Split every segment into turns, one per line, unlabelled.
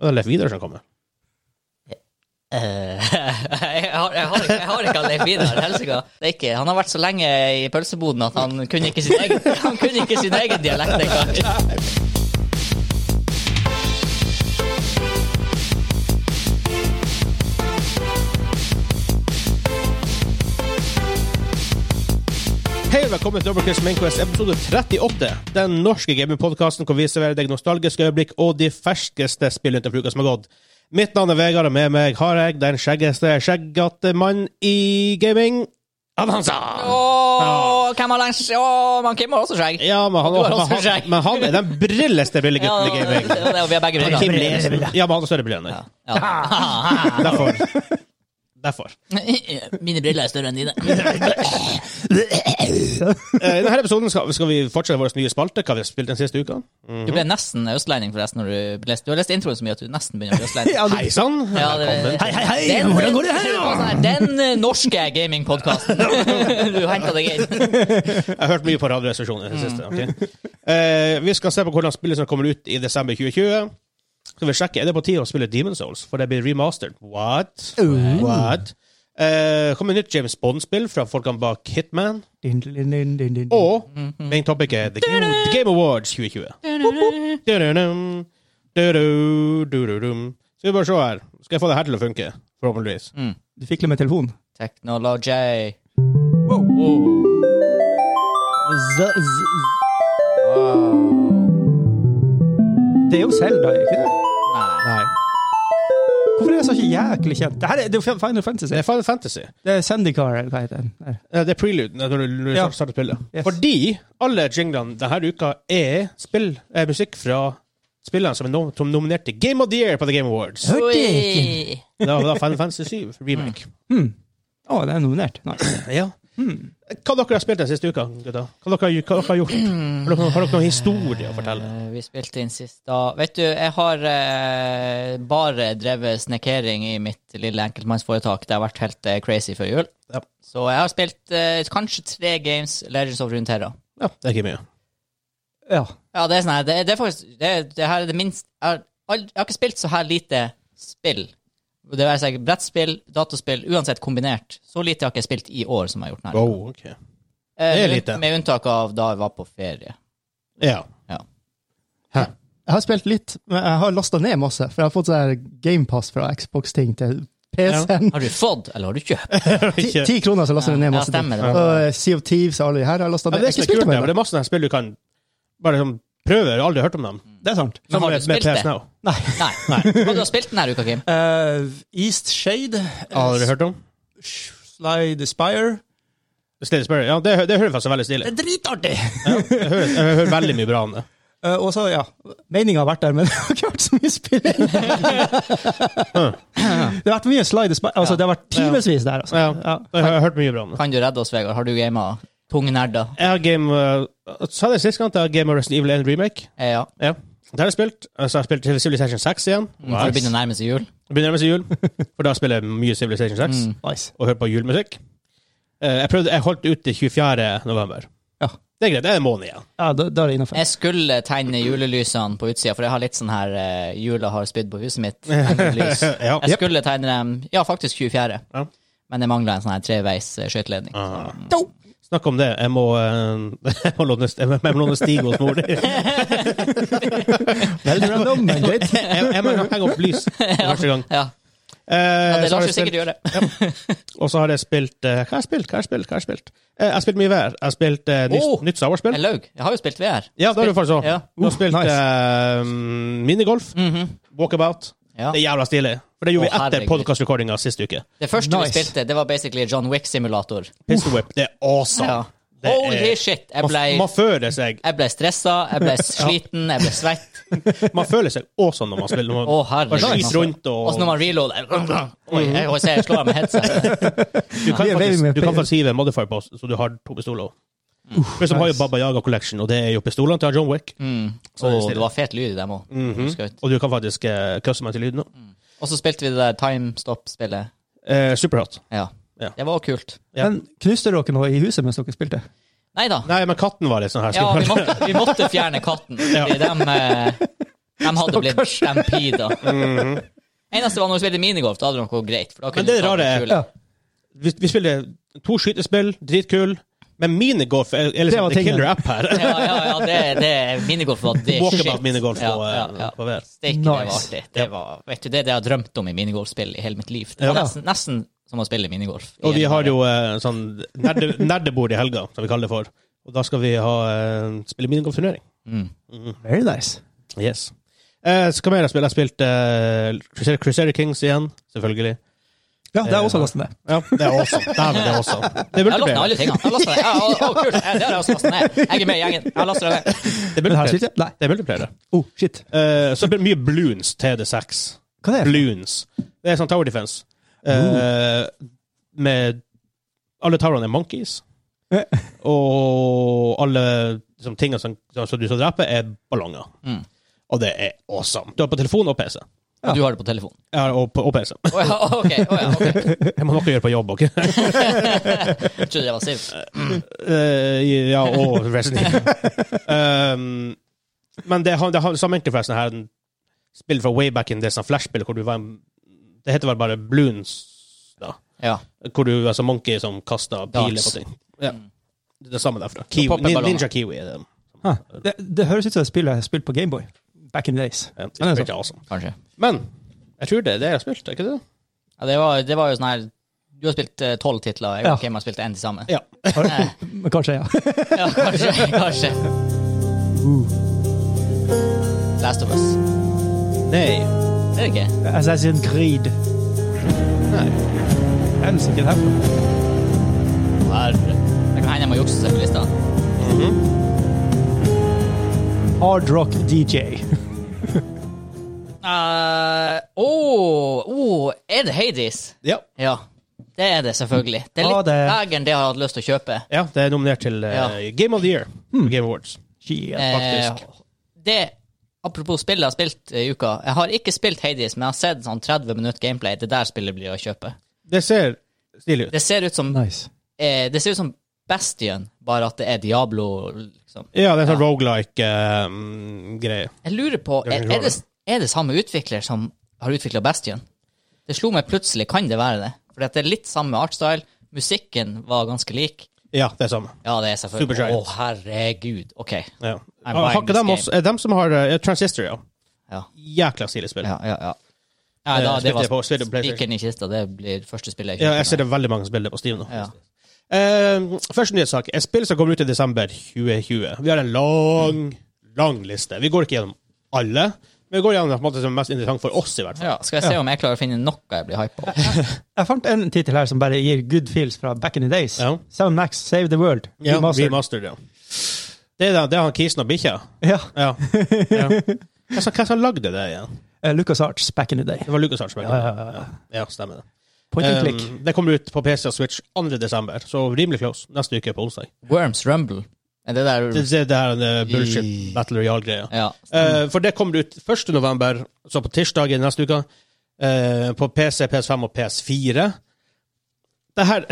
Det er Leif Vidar som kommer.
Eh, jeg, har, jeg, har ikke, jeg har ikke han Leif Vidar Helsika. Det er ikke, han har vært så lenge i pølseboden at han kunne ikke sin egen, han kunne ikke sin egen dialekt engang.
Hei og velkommen til Overcast Mainquest episode 38. Den norske gamingpodkasten hvor vi serverer deg nostalgiske øyeblikk og de ferskeste spillene til uka som har gått. Mitt navn er Vegard, og med meg har jeg den skjeggeste skjeggete mann i gaming. Avanza!
Åh, hvem har lengst Åh, man Kim har også skjegg.
Ja, men han,
Du har
men
også
han,
skjegg.
men han er den brilleste
Ja,
brillegutten i
det, det,
gaming.
det, og vi har begge briller.
Kim Lesen. Ja, men han har større briller enn deg.
Ja.
Derfor. Derfor.
Mine briller er større enn dine.
Eh, I denne episoden skal, skal vi fortsette vår nye spalte, hva vi har spilt den siste uka.
Du ble nesten østlending, forresten. Når du, leste, du har lest introen så mye at du nesten begynner å bli østlending.
Hei sann!
Ja, det-
Velkommen.
hei, hei, hei! Hvordan går det her, da? Den eh, norske gamingpodkasten. Du henta deg inn.
Jeg har hørt mye på Radioresepsjonen i det siste. ok? Eh, vi skal se på hvordan spillet som kommer ut i desember 2020. Skal vi sjekke, Er det på tide å spille Demon Souls? For det blir remastered. What? What? Eh, kommer nytt James Bond-spill fra folkene bak Hitman.
Din, din, din, din, din.
Og main topic er The Game, The Game Awards 2020. Du-du-dum, du-du, du-du-dum. Skal vi bare se her. Skal jeg få det her til å funke? Forhåpentligvis.
Du fikler med telefonen.
Technology.
Det er jo Zelda, er det ikke det?
Nei.
Nei.
Hvorfor er det så ikke jæklig kjent? Det her er, det er jo Final Fantasy.
Det er Final Fantasy.
Det er Sandicar, eller hva heter den? Nei.
Eh, Det er preluden når du når du
Ja.
starter spillet.
Yes.
Fordi alle jinglene denne uka er spill, eh, musikk fra spillene som er nom som nominert til Game of the Year på The Game Awards.
Hørte ikke.
Oi.
Det var da Final Fantasy 7 remake.
Å, den er nominert. Nei.
Ja. Hmm. Hva dere har spilt den siste uka, gutta? Hva dere, har- hva dere har gjort? Har dere, har dere noen historie å fortelle?
Eh, Vi spilte inn sist da. Vet du, jeg har eh, bare drevet snekkering i mitt lille enkeltmannsforetak. Det har vært helt eh, crazy før jul.
Ja.
Så jeg har spilt eh, kanskje tre games Legends of Runeterra.
Ja, det er ikke mye.
Ja.
Ja, det er sånn her Det, det er faktisk det, det her er det minst jeg har, aldri, jeg har ikke spilt så her lite spill. Det være seg brettspill, dataspill, uansett kombinert. Så lite har ikke jeg spilt i år som jeg har gjort her.
Wow, Oh, ok.
Eh,
det er
med-
lite.
Med unntak av da jeg var på ferie.
Ja.
Ja.
Jeg har spilt litt, men jeg har lasta ned masse. For jeg har fått sånn GamePass fra Xbox-ting til PC-en.
Har du fått, eller har du kjøpt?
Ti ti kroner, så laster jeg ned
Ja,
masse ting.
stemmer det.
Og Sea of Thieves og alle de her har jeg
Ja,
lasta
det er
ned.
ikke
Jeg har ikke spilt
kult,
dem
det, men det
ennå.
er masse sånne spill du kan bare liksom prøve. Jeg har aldri hørt om dem.
Det er sant.
Men
Sammen
har
med,
du
med
spilt det?
PS Now.
Nei. Hva du har spilt denne uka, Kim?
Eh, East Shade. eh,
Har dere hørt om?
Slide Aspire.
Stilig spørre. Ja, det, hø- det høres faktisk veldig stilig
Det er dritartig!
Jeg hører, jeg hører veldig mye bra om det.
Eh, og så, ja. Meninga har vært der, men det har ikke vært så mye spilling. det har vært mye Slide Aspire. Altså, det har vært timevis der, altså.
Ja, Jeg har jeg har hørt mye bra om det.
Kan du redde oss, Vegard? Har du gama tunge nerder?
Jeg har game uh, Sa jeg det sist gang at jeg har Game of Resident Evil 1 Remake?
Eh, ja.
Ja. Det har jeg spilt. Og Så har jeg spilt Civilization 6 igjen.
For det Mm. begynner å nærme seg jul.
Begynner nærmest jul, for da spiller jeg mye Civilization 6
Mm.
Nice.
og hører på julemusikk. Eh, Jeg, prøvde, jeg holdt ut til 24. november.
Ja.
Det er greit. Det er en måned igjen.
Ja, da, da er det innafor.
Jeg skulle tegne julelysene på utsida, for jeg har litt sånn her eh, Jula har spydd på huset mitt. Tegnelys.
Ja.
Jeg skulle tegne dem Ja, faktisk 24.
Ja.
Men det mangla en sånn her treveis eh, skøyteledning.
Ah. Snakk om det. Jeg må, eh, jeg må låne, jeg må- jeg må låne Stig hos mor di. Jeg,
Veldig random, men greit.
jeg må henge opp lys for første gang.
Ja.
Eh,
ja, det
så har
lar
jeg
seg sikkert
spilt-
gjøre.
Og så har jeg spilt eh, Hva har jeg spilt? Hva har jeg spilt? Hva har jeg spilt? Eh, jeg har spilt mye VR. Jeg har spilt eh, nytt,
Oh!
nytt Star Wars-spill.
Jeg laug. Jeg har jo spilt VR.
Ja, det har du
Spilt-
faktisk òg.
Ja. Mhm.
Du har
Uh,
spilt
nice.
eh, minigolf, walkabout.
Ja.
Det er jævla stilig. For det gjorde vi
Å,
etter
herregud.
podkast-recordinga sist uke.
Det første vi
Nice.
spilte, det var basically John Wick-simulator.
Pistol whip. Det er awesome.
Uh. Ja.
Det er-
Holy shit! Jeg
Man,
ble,
man føler seg
jeg ble stressa, jeg ble sliten, jeg ble svett.
Man føler seg awesome når man spiller. Når man,
Å, herregud.
man
altså.
skyter rundt og Mhm.
Og så når man reloader sånn, Oi, jeg, jeg, jeg slår av med headset.
Du kan
Vi er veldig
faktisk,
med
du kan
pen-
faktisk hive en modifier på, så du har to pistoler. Pluss de har jo
nice.
Baba Yaga Collection, og det er jo pistolene til John Wick.
Mm.
Så det Mhm. er
Og
stille.
det var fet lyd i dem òg.
Og du kan faktisk uh, customize til lyden òg.
Og så spilte vi det der timestop-spillet.
Eh, Superhot.
Ja.
Ja.
Det var også kult.
Ja.
Men knuste dere noe i huset mens dere spilte?
Nei da.
Nei, men katten var litt sånn her.
Ja, vi måtte, vi måtte fjerne katten. Fordi dem, eh, De hadde blitt
Stakkars.
stampeda. Eneste var når du spilte minigolf, da hadde det gått greit. For da kunne
Mhm. Men det
du ta
rare er-
kule.
Vi, vi spiller to skytespill, dritkul, men minigolf er, er
Det var
liksom the
tingen.
killer app her.
Ja, ja, ja, det, det, minigolf var det
Walkabout minigolf på,
Ja, ja, ja.
eh, på VR.
Steak, det var
Nice.
artig. Det var, vet du, det er det jeg har drømt om i minigolfspill i hele mitt liv. Det var
Ja.
nesten, nesten som å spille minigolf.
Og vi har
Igjen,
jo eh, sånn nerde, nerdebord i helga, som vi kaller det for. Og da skal vi ha, eh, spille minigolfturnering.
Mm.
Very nice.
Yes. Eh, så hva mer har jeg spilt? Jeg har spilt eh, Crusader, Crusader Kings igjen, selvfølgelig.
Ja, det er også lastet ned.
Ja, det er også. Dæven, det er også. Det er
Jeg har lastet
multiplayer.
alle tingene. Jeg har lastet det. Ja, å, å, kult. Ja, Det har jeg også lastet ned. Jeg er med i gjengen. Jeg har lastet det. ned.
Det er
Men her
multiplayer.
spilte jeg Nei.
Det er multiplayer. det.
Oh, shit.
Eh, så det blir mye Bloons til D6.
Hva er det?
Bloons. Det er sånn Tower Defense. Eh, Med Alle towerne er monkeys.
Eh.
Og alle liksom, tingene som, som som du skal drepe, er ballonger.
Mm.
Og det er awesome. Du har på telefon og PC.
Og du har det på telefonen.
Jeg har, og, på- og PC.
Å ja, ok. å ja, ok.
Jeg må ha noe å gjøre på jobb. ok?
Jeg trodde det var Siv.
Eh, ja, og Resident Evil. um, men det har, det har samme interface her en spill fra way back in det som flashspill, hvor du var en, Det heter vel bare Bloons, da.
Ja.
Hvor du altså monkey som kaster piler på ting. Ja.
Mm.
Det er det samme derfra. Kiwi,
popper
Nin-
ballonger.
Ninja Kiwi er det.
Hæ. Det, det høres ut som et spill jeg har spilt på Gameboy. Back in the days.
Ja, det
Ja, det er
er awesome.
Kanskje.
Men jeg tror det er det jeg har spilt, er ikke det?
Ja, det, var, det var jo sånn her Du har spilt eh, tolv titler, jeg og
Ja.
Kim har spilt én til sammen.
Ja.
Men Kanskje, ja.
Ja, kanskje. kanskje.
Uh.
Last of Us.
Nei.
Det er det ikke.
Assassin's Creed.
Nei.
Helsike, det her.
Herre.
Det kan hende jeg må jukse seg på lista.
Hard Rock DJ.
Eh, Åh, åh, er det Hades?
Ja.
Ja, det er det selvfølgelig. Det er
Ja,
litt
det er-
dagen det jeg har hatt lyst til å kjøpe.
ja, det er nominert til eh,
Ja. Hmm.
Game of the Year. Game Awards.
Shit.
Faktisk.
Eh, det, apropos spill jeg har spilt i uka. Jeg har ikke spilt Hades, men jeg har sett sånn 30 minutter gameplay. Det der spillet blir å kjøpe.
Det ser stilig ut.
Det ser ut som,
Nice.
eh, det ser ut som Bastion, bare at det er Diablo, liksom.
Ja, det er sånn
Ja.
roguelike eh, greie.
Jeg lurer på,
Det er
er,
kanskje
er, det, er det samme utvikler som har utvikla Bastion? Det slo meg plutselig, kan det være det? For det er litt samme artstyle. Musikken var ganske lik.
Ja, det er samme.
Ja, det er selvfølgelig Å,
Supergiant.
herregud. OK.
Ja. Ah, har
I'm buying
ikke
this
dem, også, eh, dem som har eh, Transistor, ja.
Ja,
Jækla stilig spill.
ja, ja. ja.
Eh,
Nei, da, det
spilte jeg
var
på- spilte på PlayStation.
spikeren i kista. Det blir første spillet
Ja, jeg
kjøper
ser
meg.
det veldig mange som spiller det på Steam nå.
Ja.
Eh, første nyhetssak. Et spill som kommer ut i desember 2020. Vi har en lang, lang liste. Vi går ikke gjennom alle, men vi går gjennom det på en måte som er mest interessant for oss, i hvert fall.
Ja, skal jeg se om jeg klarer å finne noe jeg blir hype på?
Jeg fant en tittel her som bare gir good feels fra back in the days.
Ja.
Sound Max, Save the World.
Ja,
Remastered.
Remastered, ja. Det er, da- det er han kisen og bikkja.
Ja.
Ja. ja. Hvem som- Hvem som lagde det igjen?
eh, Lucas Arts, Back in the Day.
Det var Lucas Artsberg.
Ja, ja, ja, ja.
ja, stemmer det.
Point and
Eh,
click.
det kommer ut på PC og Switch 2. desember, så rimelig close. Neste uke på onsdag.
Worms Rumble. Er det der
Det, det, det her er en eh,
I-
bullshit battle royale-greie.
Ja.
Eh, for det kommer ut 1. november, så på tirsdag i neste uke, eh, på PC, PS5 og PS4. Det her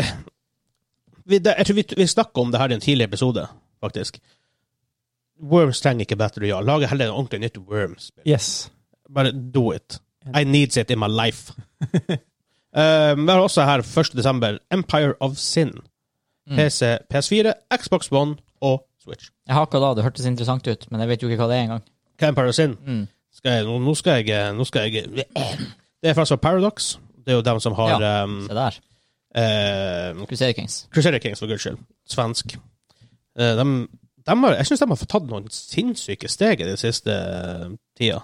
vi, det, Jeg tror vi, vi snakka om det her i en tidligere episode, faktisk. Worms trenger ikke Battle Royale. Lager heller en ordentlig nytt Worms.
Yes.
Bare do it. I need it in my life. Eh, men også her 1. desember, Empire of Sin. PC, PS4, Xbox One og Switch.
Jeg har ikke da, det hørtes interessant ut, men jeg vet jo ikke hva det er engang.
Hva er Empire of Sin?
Mm.
skal jeg, nå- nå skal jeg, nå skal jeg Det er faktisk Paradox. Det er jo dem som har
Ja.
ehm,
Se der.
ehm,
Crusader Kings.
Crusader Kings, for guds skyld. Svensk. Eh, dem- dem har, jeg syns de har fått tatt noen sinnssyke steg i den siste eh, tida.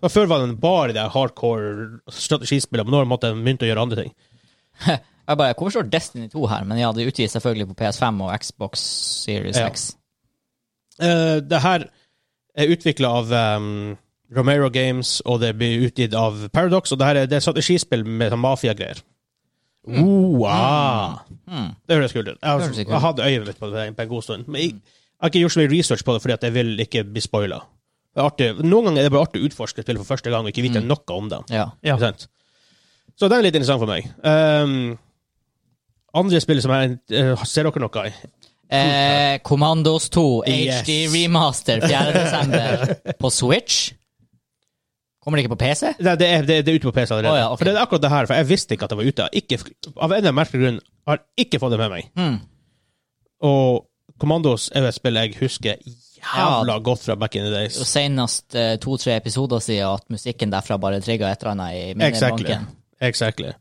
For før var det bare de der hardcore strategispillene, men nå har de måttet begynt å gjøre andre ting.
Jeg bare, Hvorfor står Destiny 2 her? Men ja, det utgis selvfølgelig på PS5 og Xbox Series
Ja.
X.
Eh, det her er utvikla av ehm, Romero Games, og det blir utgitt av Paradox, og det her er, det er strategispill med sånn mafiagreier. Oh, ah.
Hmm.
Det høres kult ut.
Høres
Jeg,
kult ut.
jeg hadde øyet mitt på det på en god stund. Men jeg, jeg har ikke gjort så mye research på det, fordi at jeg vil ikke bli spoila. Det er artig. Noen ganger er det bare artig å utforske et spill for første gang og ikke vite noe om det.
Mm. Ja.
Ja.
Ikke sant? Så den er litt interessant for meg. Ehm, andre spill som jeg eh, Ser dere noe i?
Eh, Commandos 2
Yes.
HD remaster 4. desember på Switch. Kommer det ikke på PC?
Nei, det er, det, er- det er ute på PC allerede.
Å, ja, ok.
For det er akkurat det her, for jeg visste ikke at det var ute. Jeg har Ikke, av en eller annen merkelig grunn har jeg ikke fått det med meg.
Hmm.
Og Commandos er jo et spill jeg husker jævla
Ja.
godt fra back in the
Og
days.
senest eh, to-tre episoder siden at musikken derfra bare trigga et eller annet i minnebanken.
Exactly. exactly.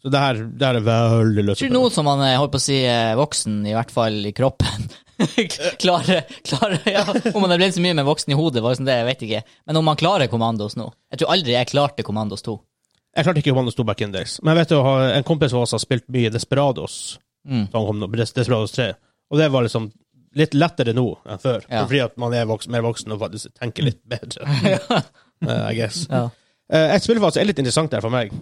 Så det her, det her er veldig løst.
Jeg tror nå som han er, holdt på å si, eh, voksen, i hvert fall i kroppen klarer, klarer, ja, Om han er blitt så mye med voksen i hodet, var liksom det, jeg vet ikke. Men om han klarer Commandos nå Jeg tror aldri jeg klarte Commandos 2.
Jeg klarte ikke Commandos 2 back in the days. Men jeg vet jo, har- en kompis av oss har spilt mye Desperados.
Mm.
Da han kom nå, Des- Desperados 3. Og det var liksom litt lettere nå enn før.
Ja.
Fordi at man er voksen, mer voksen og faktisk tenker litt bedre. Eh, I guess.
Ja.
Eh, et spill som er litt interessant der for meg,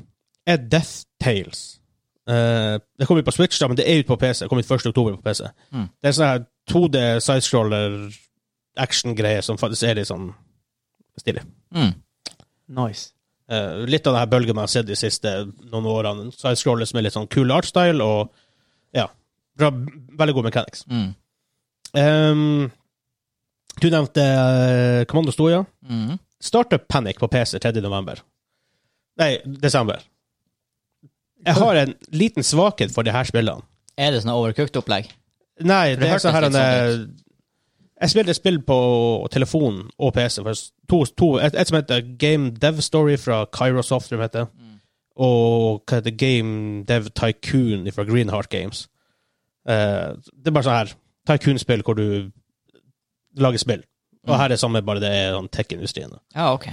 er Death Tales. Eh, det kom ut på Switch, da, men det er ut på PC. Det kom ut 1. oktober på PC.
Mm.
Det er en sånn her 2D sidescroller action-greie som faktisk er litt sånn stilig.
Mm.
Nice.
Eh, litt av denne bølgen man har sett de siste noen årene. Sidescroller som er litt sånn cool artstyle og ja, bra, veldig god mechanics.
Mm.
Ehm, du nevnte eh, Commando Stoia.
Mm.
Startup Panic på PC 3. november. Nei, desember. Jeg har en liten svakhet for de her spillene.
Er det sånn overcooked opplegg?
Nei, det
det
er sånn her
hørtes
en, eh, Jeg spilte et spill på telefon og PC. For to, to, et, et som heter Game Dev Story fra Kyro Software, heter. det. og hva heter det? Game Dev Tycoon fra Greenheart Games. Eh, det er bare sånn her tycoon-spill hvor du lager spill. Og
Mm.
her er det samme, bare det er sånn tech-industrien.
Ja, ok.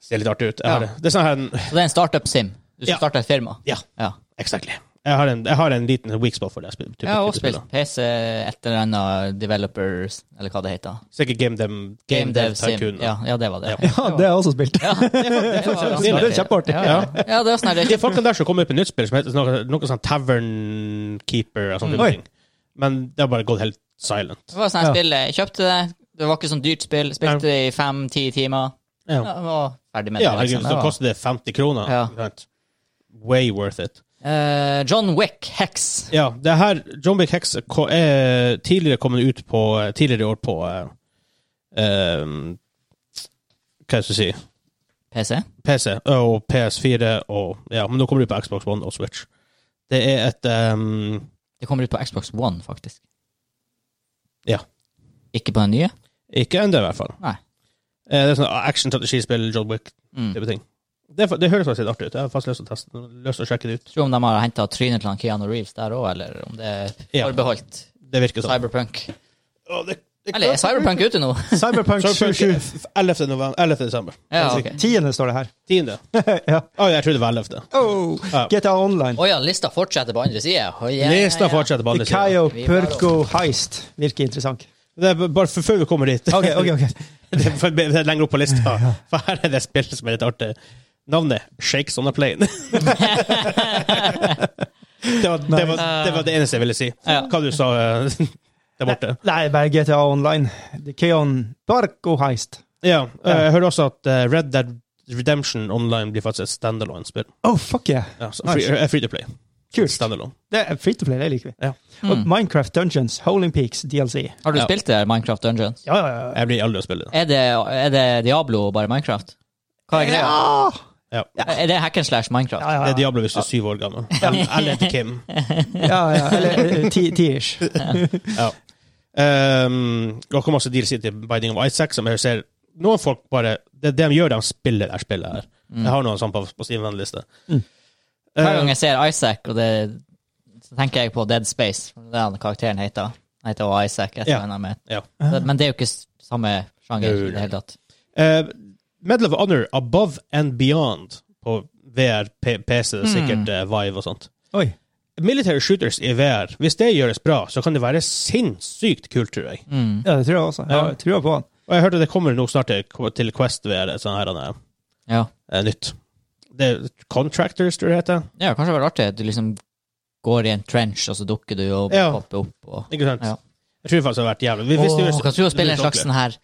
Ser litt artig ut. Jeg
Ja.
har det. det er sånn her en
Så det er en startup-sim? Du skal
Ja.
starte et firma?
Ja.
Ja,
Exactly. Jeg har en, jeg har en liten weak spot for det. Type,
Jeg har også spilt PC, et eller annet Developers, eller hva det heter.
Sikkert Game, Dem, Game, Dev
Sim.
Tycoon.
Ja, ja, det var det.
Ja.
Ja, det har jeg også spilt.
Ja, det, var- det, var
Det er
ganske-
kjempeartig.
Ja, ja, det var sånn her
De folkene der som kom ut med nytt spill, som heter noe, noe sånn Tavern Keeper og sånne
Mm. Oi.
ting. Men det har bare gått helt silent.
Det var sånn
Ja.
her spill jeg kjøpte det. Det var ikke sånn dyrt spill. Spilte det i fem-ti timer.
Ja,
Ja, jeg var ferdig med det.
ja herregud,
liksom.
så
Det var-
koster det 50 kroner.
Ja.
ikke sant? Way worth it.
Eh, John Wick, Hex.
Ja, det her John Wick Hex ko- er tidligere kommet ut på Tidligere i år på eh, eh, Hva skal jeg si
PC.
PC og PS4 og Ja, men nå kommer du på Xbox One og Switch. Det er et ehm,
Det kommer ut på Xbox One, faktisk.
Ja.
Ikke på den nye?
Ikke ennå, i hvert fall.
Nei.
Eh, Det er sånn action-strategispill, John Wick-type
Mm.
ting. Det, er fa- det høres faktisk litt artig ut. Jeg har faktisk lyst til å teste Lyst til å sjekke det ut.
Tror om de har henta trynet til han Keanu Reeves der òg, eller om det er
Ja.
forbeholdt
Det virker sånn.
Cyberpunk.
Å, det- det-
Eller er Cyberpunk ute nå?
Cyberpunk
Cyberpunk
77.
er 11. november. 11. desember.
Ja, ok.
Tiende står det her.
10.
ja.
Å, jeg trodde det var 11.
Oh,
Ja.
GTA Online.
Å ja, lista fortsetter på andre sida. Oh, ja, ja, ja.
Lista fortsetter på andre siden.
Ikayo
Vi bare-
Perko Heist virker interessant.
Det er b- bare for før vi kommer dit.
Ok, ok, ok.
Det er for- det er lenger opp på lista. For her er det spillet som er litt artig. Navnet Shakes On A Plane. det, var, det, var, det var det eneste jeg ville si.
Ja.
Hva du sa eh, der borte.
Nei, bare GTA Online. Ikayon Perko Heist.
Ja, eh, jeg hører også at eh, Red Dead Redemption Online blir faktisk et standalone-spill.
Oh, fuck yeah.
Ja, så free,
Nice.
eh, free to play.
Kult.
Standalone.
Det er free to play, det liker vi.
Ja.
Og
Mm.
Minecraft Dungeons, Holing Peaks, DLC.
Har du
Ja.
spilt det, Minecraft Dungeons?
Ja, ja, ja.
Jeg blir aldri å spille det.
Er det, er det Diablo og bare Minecraft? Hva er greia?
Ja!
Er det hack and slash Minecraft?
Ja, ja,
Det er
ja.
Diablo hvis du er syv år gammel. Eller eller et Kim.
ja, ja. Eller eh, ti- ti-ish.
Ja. Um, og kommer også DLC til Binding of Isaac, som jeg ser Noen folk bare Det det de gjør, de spiller det her spillet her. Jeg har noen sånn på, på Ehm, sin venneliste.
Mm.
Hver
Eh.
gang jeg ser Isaac, og det, så tenker jeg på Dead Space. for Det er den karakteren heter. Han heter også Isaac. Et
Ja.
eller annet med.
Ja. Uhuh.
Så- Men det er jo ikke s- samme sjanger
Jo,
i det hele tatt.
Eh, Medal of Honor Above and Beyond på VR, P PC,
Hmm.
sikkert eh, Vive og sånt.
Oi.
Military shooters i VR, hvis det gjøres bra, så kan det være sinnssykt kult, tror jeg.
Mm.
Ja, det tror jeg også. Jeg har trua på han.
Og jeg hørte det kommer nå snart til, til Quest VR, et sånt her eh,
Ja.
nytt. Det er Contractors, tror jeg det heter.
ja, kanskje det var artig at du liksom går i en trench, og så dukker du og
Ja.
popper opp. Og...
Ikke sant?
Ja.
Jeg tror faktisk det har vært jævlig. Vi- hvis det
Åh,
gjøres-
kan tro å spille en
det blir
slags sånn her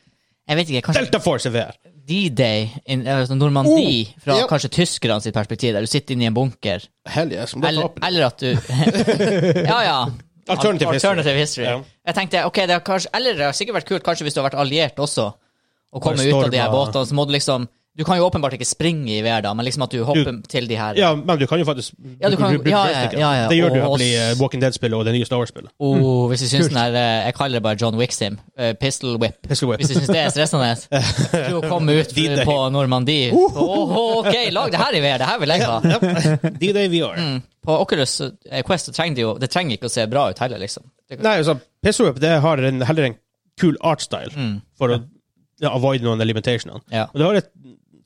Jeg vet ikke, kanskje
Delta Force er VR.
D-Day, in- eller sånn Normandie, fra
Oh, ja.
kanskje tyskerne sitt perspektiv, der du sitter inne i en bunker.
Hell yes.
Eller, eller at du Ja, ja.
Alternative history.
Alternative history.
Ja.
Jeg tenkte, ok, det har kanskje, Eller det har sikkert vært kult kanskje hvis du har vært alliert også, og
Bare
kommet ut av de her
storma.
båtene. Så må du liksom Du kan jo åpenbart ikke springe i VR, da, men liksom at du hopper til de her
Ja, men du kan jo faktisk
Ja, du kan- ja, ja, ja, ja.
Det gjør du
Og-
i eh, Walking Dead-spillet og det nye Star Wars-spillet.
oh, Hvis du syns den her eh, Jeg kaller det bare John Wick-sim. eh, Pistol Whip.
Pistol Whip.
Hvis du syns det er stressende. Du å komme ut
D-Day.
på Normandie
Uhuh.
Åh, OK, lag det her i VR! Det her vil jeg ha.
D-Day VR.
Mm. På Oculus eh, Quest så trenger det jo Det trenger ikke å se bra ut heller, liksom. Det,
Nei, altså, Pistol Whip det har en, heller en kul artstyle
Mm.
for å ja, avoid noen limitationer.
ja.
Og du har et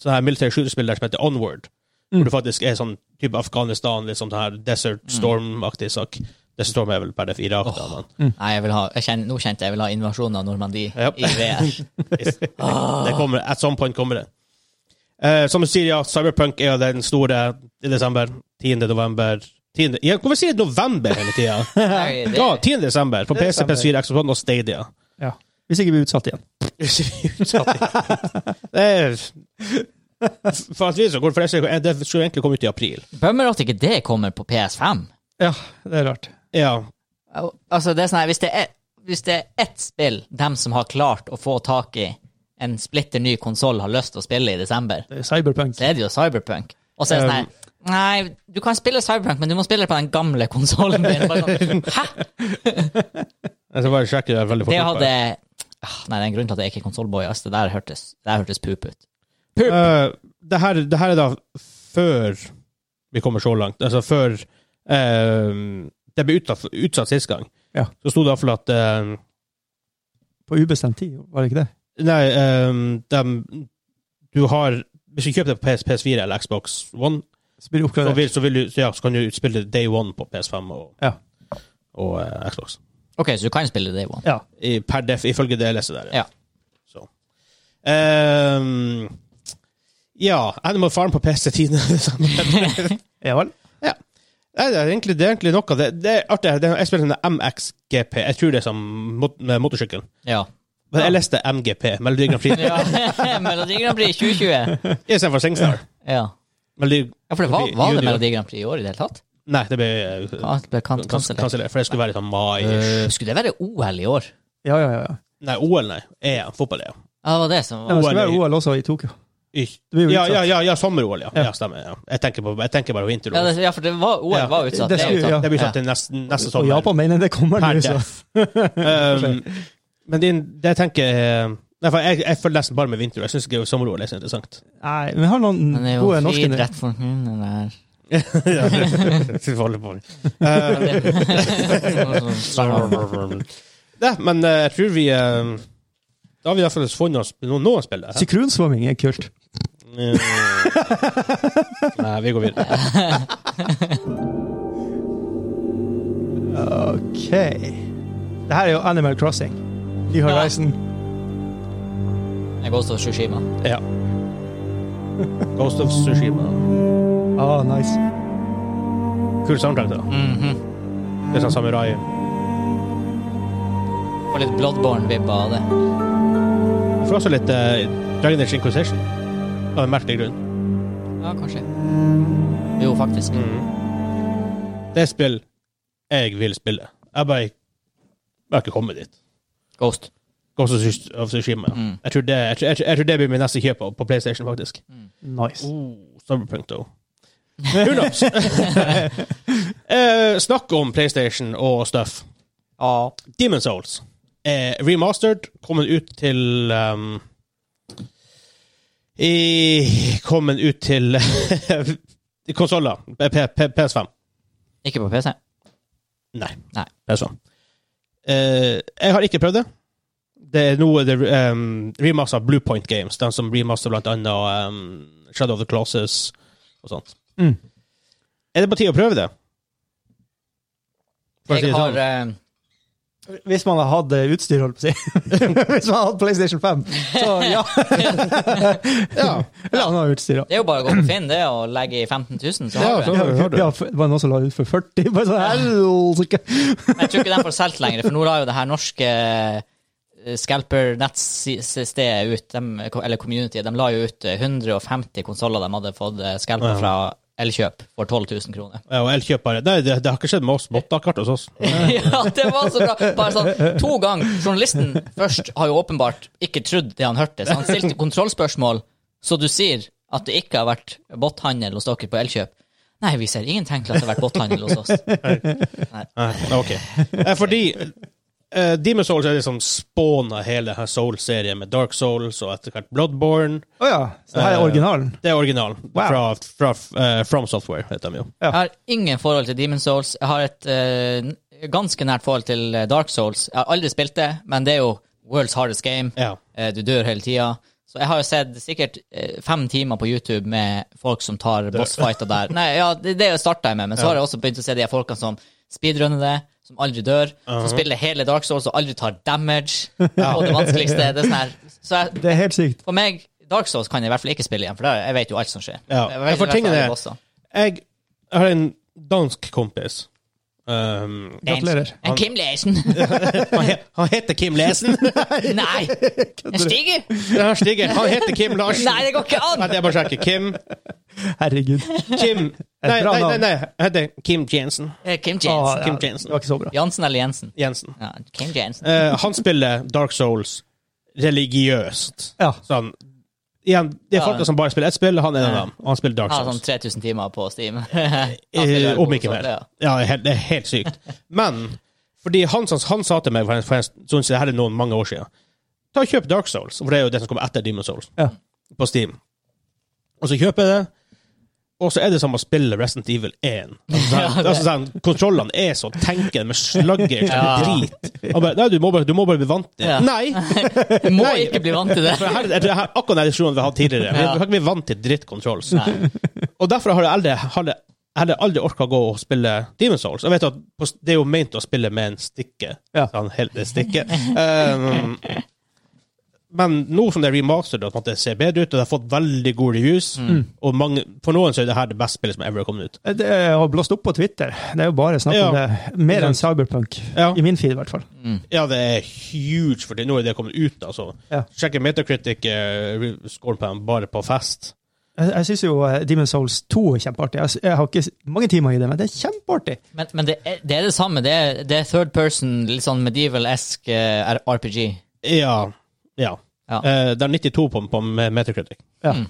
sånn her military shooter-spill der som heter Onward,
Mm.
hvor du faktisk er sånn type Afghanistan, litt sånn her Desert Storm-aktig sak. Desert Storm er vel per def Irak, da, men
Nei, jeg vil ha jeg kjenner, Nå kjente jeg jeg vil ha invasjonen av Normandie
Mm. Ja.
i VR.
det kommer, at some point kommer det. Eh, som du sier, ja, Cyberpunk er jo den store i desember. 10. november 10. Ja, hvorfor sier jeg november hele tida?
Nei, det,
Ja, 10. desember på PC,
Desember.
PS4, Xbox One og Stadia.
Ja. Hvis ikke blir utsatt igjen.
Det er For at vi så går det fleste Det skulle egentlig komme ut i april.
Bummer at ikke det kommer på PS5.
Ja, det er rart.
Ja.
Al- Altså, det er sånn her, hvis det er, hvis det er ett spill dem som har klart å få tak i en splitter ny konsoll har lyst til å spille i desember,
Det er Cyberpunk.
så er det jo Cyberpunk. Og så er det sånn her Nei, du kan spille Cyberpunk, men du må spille på den gamle konsollen din. Bare sånn, Hæ?
Jeg skal Altså, bare sjekke det veldig fort.
Det
opp
hadde
her.
Ah, Nei, det er en grunn til at jeg ikke er konsollboy. ass. Det der hørtes, det der hørtes pup ut. Uh,
Eh, det, her, det her er da før vi kommer så langt. Altså før eh, Det ble utsatt, utsatt sist gang.
Ja.
Så sto det iallfall at eh,
På ubestemt tid, var det ikke det?
Nei, eh, dem Du har Hvis du kjøper det på PS, PS4 eller Xbox One,
Så blir
så,
det oppgradert.
vil, så, vil du, så, ja, så kan du spille det Day One på PS5 og,
Ja.
og eh, Xbox.
OK, så du kan spille Day One.
Ja.
I, per def, ifølge det jeg leste der.
Ja.
Så. Ehm, ja, Animal Farm på PC10.
ja vel.
Nei, det, er egentlig, det er egentlig noe av det. Det er artig. Det er, jeg spiller en MXGP. Jeg tror det er som mot, med motorsykkelen.
Ja.
Men jeg leste MGP, Melodi Grand Prix,
ja. Melodi Grand Prix 2020.
istedenfor Singstar.
Ja.
Melodi
Ja, for det
Fordi
var, var det
junior-
Melodi Grand Prix i år i det hele tatt?
Nei, det ble eh,
Alt ble kan-
kans-
kansellert.
kansellert, for det skulle være i sånn mai
Øh, Skulle det være OL i år?
Ja, ja, ja. ja.
Nei, OL, nei. E EM, fotball-EM.
Ja, det var det som var
Ja, det skal
OL
være
i-
OL også i Tokyo.
Ikk-
Det blir jo
Ja,
utsatt.
ja, ja, ja sommer-OL, ja. ja. Stemmer. Ja. Jeg, tenker på, jeg tenker bare på
ja,
vinter-OL.
det, ja, for det var, OL
Ja,
var utsatt.
det
er
skulle-
utsatt.
ja.
Det blir satt
Ja.
til neste, neste
Og
sommer.
Japan mener det kommer
Per
nå, så
def. Um, men det, det jeg tenker eh, Nei, for jeg, jeg følger nesten bare med vinter. Jeg syns ikke sommer-OL er så interessant.
Nei, vi har noen
Men det er jo
gode norske
friidrett for hunden der.
Ja, det- vi får holde på. Eh, Nei, men eh, jeg tror vi eh, Da har vi i hvert fall funnet oss noen, noen spill. der.
Sykronsvømming er kult.
Eh, Nei, vi går videre.
Ok. Det her er jo Animal Crossing. New Horizon.
Jeg går også Shushima.
Ja. Ghost of Sushima.
Å, Ah, nice.
Kul soundtrack, da.
Mhm.
Det er sånn samurai.
Får litt Bloodborne-vibba av det.
Jeg får også litt eh, Dragon Age Inquisition. Av en merkelig grunn.
Ja, kanskje. Jo, faktisk.
Det er spill jeg vil spille. Jeg bare Jeg har ikke kommet dit.
Ghost.
Ghost of Tsush- of Tsushima. ja.
Mm.
Jeg, tror det, jeg, tror, jeg, tror, jeg tror det blir min neste kjøp på, på PlayStation, faktisk.
Nice.
Oh.
Cyberpunk, though. Who knows? Eh, snakk om PlayStation og stuff.
Ja.
Demon Souls. Eh, remastered. Kommet ut til um, i, Kommet ut til konsoller. P- P- PS5.
Ikke på PC.
Nei.
Nei.
PS5. Eh, jeg har ikke prøvd det. Det er noe det um, remaster av Bluepoint Games, den som remaster blant annet um, Shadow of the Classes og sånt.
Mm.
Er det på tide å prøve det? For å si
Jeg
det
har
sånn.
eh,
Hvis man har hatt eh, utstyr, holdt på å si. Hvis man har hatt PlayStation 5, så ja. ja. Eller annet utstyr, da.
Det er jo bare å gå på Finn, det, og legge i 15 000, så har
Ja,
du det.
sånn.
Ja,
har du.
ja, for- det var noen som la ut for 40. Bare sånn, helsike.
Men jeg tror ikke den får solgt lenger, for nå la jo det her norske eh, Scalper-nettstedet ut, dem- eller communityet, de la jo ut eh, 150 konsoller de hadde fått eh, scalper
Ja.
fra Elkjøp for 12 000 kroner.
Ja, og elkjøpere Nei, det, det har ikke skjedd med oss. Bottakart hos oss.
ja, det var så bra! Bare sånn to ganger. Journalisten først har jo åpenbart ikke trodd det han hørte, så han stilte kontrollspørsmål Så du sier at det ikke har vært bothandel hos dere på Elkjøp? Nei, vi ser ingen tegn til at det har vært bothandel hos oss.
Nei, ok. Eh, Fordi eh, Demon's Souls er liksom spåna hele her Soul-serien med Dark Souls og etter hvert Bloodborne.
Å ja. Så det her er originalen?
Eh, Det er originalen.
Wow.
Fra, fra eh, From Software, heter de jo.
Jeg har ingen forhold til Demon's Souls. Jeg har et eh, n- ganske nært forhold til eh, Dark Souls. Jeg har aldri spilt det, men det er jo world's hardest game.
Ja.
Eh, Du dør hele tida. Så jeg har jo sett sikkert eh, fem timer på YouTube med folk som tar bossfighter der. Nei, ja, det, det starta jeg med, men så har jeg også begynt å se de her folkene som speedrunner det, som aldri dør, som spiller hele Dark Souls og aldri tar damage. Og det vanskeligste det er sånn her. Så jeg,
Det er helt sykt.
for meg, Dark Souls kan jeg i hvert fall ikke spille igjen, for da- jeg vet jo alt som skjer.
Ja.
Jeg
Ja, for
vet i hvert
tingen
fall alle
er-
bosser.
Jeg har en dansk kompis. Um,
Gratulerer.
En Kim Lesen.
han, he han heter Kim Lesen.
Nei! En Stiger?
Den her stiger. Han heter Kim Larsen.
Nei, det går ikke
Nei,
an!
det er bare å sjekke. Kim
Herregud.
Kim
Et
Nei,
bra
nei, nei,
navn.
nei. jeg heter Kim Jensen.
Eh, Kim
Å,
Kim
Jensen.
Ah, ja,
Jensen.
Det var ikke så bra.
Jansen eller Jensen?
Jensen.
Ja, Kim Jensen.
Eh, han spiller Dark Souls religiøst.
Ja.
Sånn Igjen, det er
Ja.
folka som bare spiller ett spill, han er en av dem. Og han spiller Dark
Jeg har sånn
Souls.
3000 timer på Steam.
Eh, om ikke mer. Ja, det er helt, det er helt sykt. Men fordi han, sa- han sa til meg for en, for en stund siden, det her er noen mange år siden Ta og Kjøp Dark Souls, for det er jo det som kommer etter Demon Souls,
Ja.
på Steam. Og så kjøper jeg det, og så er det som å spille Resident Evil 1. Altså, sånn, altså, sånn, kontrollene er så tenken med slugger som
Ja.
drit. Han bare, Nei, du må bare, du må bare bli vant til det.
Ja.
Nei!
Du må
Nei.
ikke bli vant til det.
For her, jeg tror det her, akkurat den diskusjonen vi har hatt tidligere. Vi
Ja.
har ikke blitt vant til drittkontroll.
Nei.
Og derfor har jeg aldri, har jeg- jeg hadde aldri orka å gå og spille Demon's Souls. Jeg vet at på- Det er jo ment å spille med en stikke.
Ja.
Sånn, helt en stikke. Um, men nå som det er remastered og på en måte ser bedre ut, og det har fått veldig gode reviews
Mm.
og mange, For noen så er det her det beste spillet som ever har kommet ut.
Det er- har blåst opp på Twitter. Det er jo bare snakk om
Ja.
det. Mer enn Cyberpunk.
Ja.
I min feed, i hvert fall.
Ja, det er huge, for nå er det kommet ut. altså.
Ja.
Sjekker Metacritic-scoren eh, på den bare på fest.
Jeg, jeg syns jo eh, Demon's Souls 2 er kjempeartig. Jeg, s- jeg har ikke s- mange timer i det, men det er kjempeartig.
Men, men det, er, det er det samme. Det er, det er third person, litt sånn medieval-esk eh, R- RPG.
Ja. ja.
Ja.
Eh, det er 92 på, på Metacritic.
Ja.
Mm.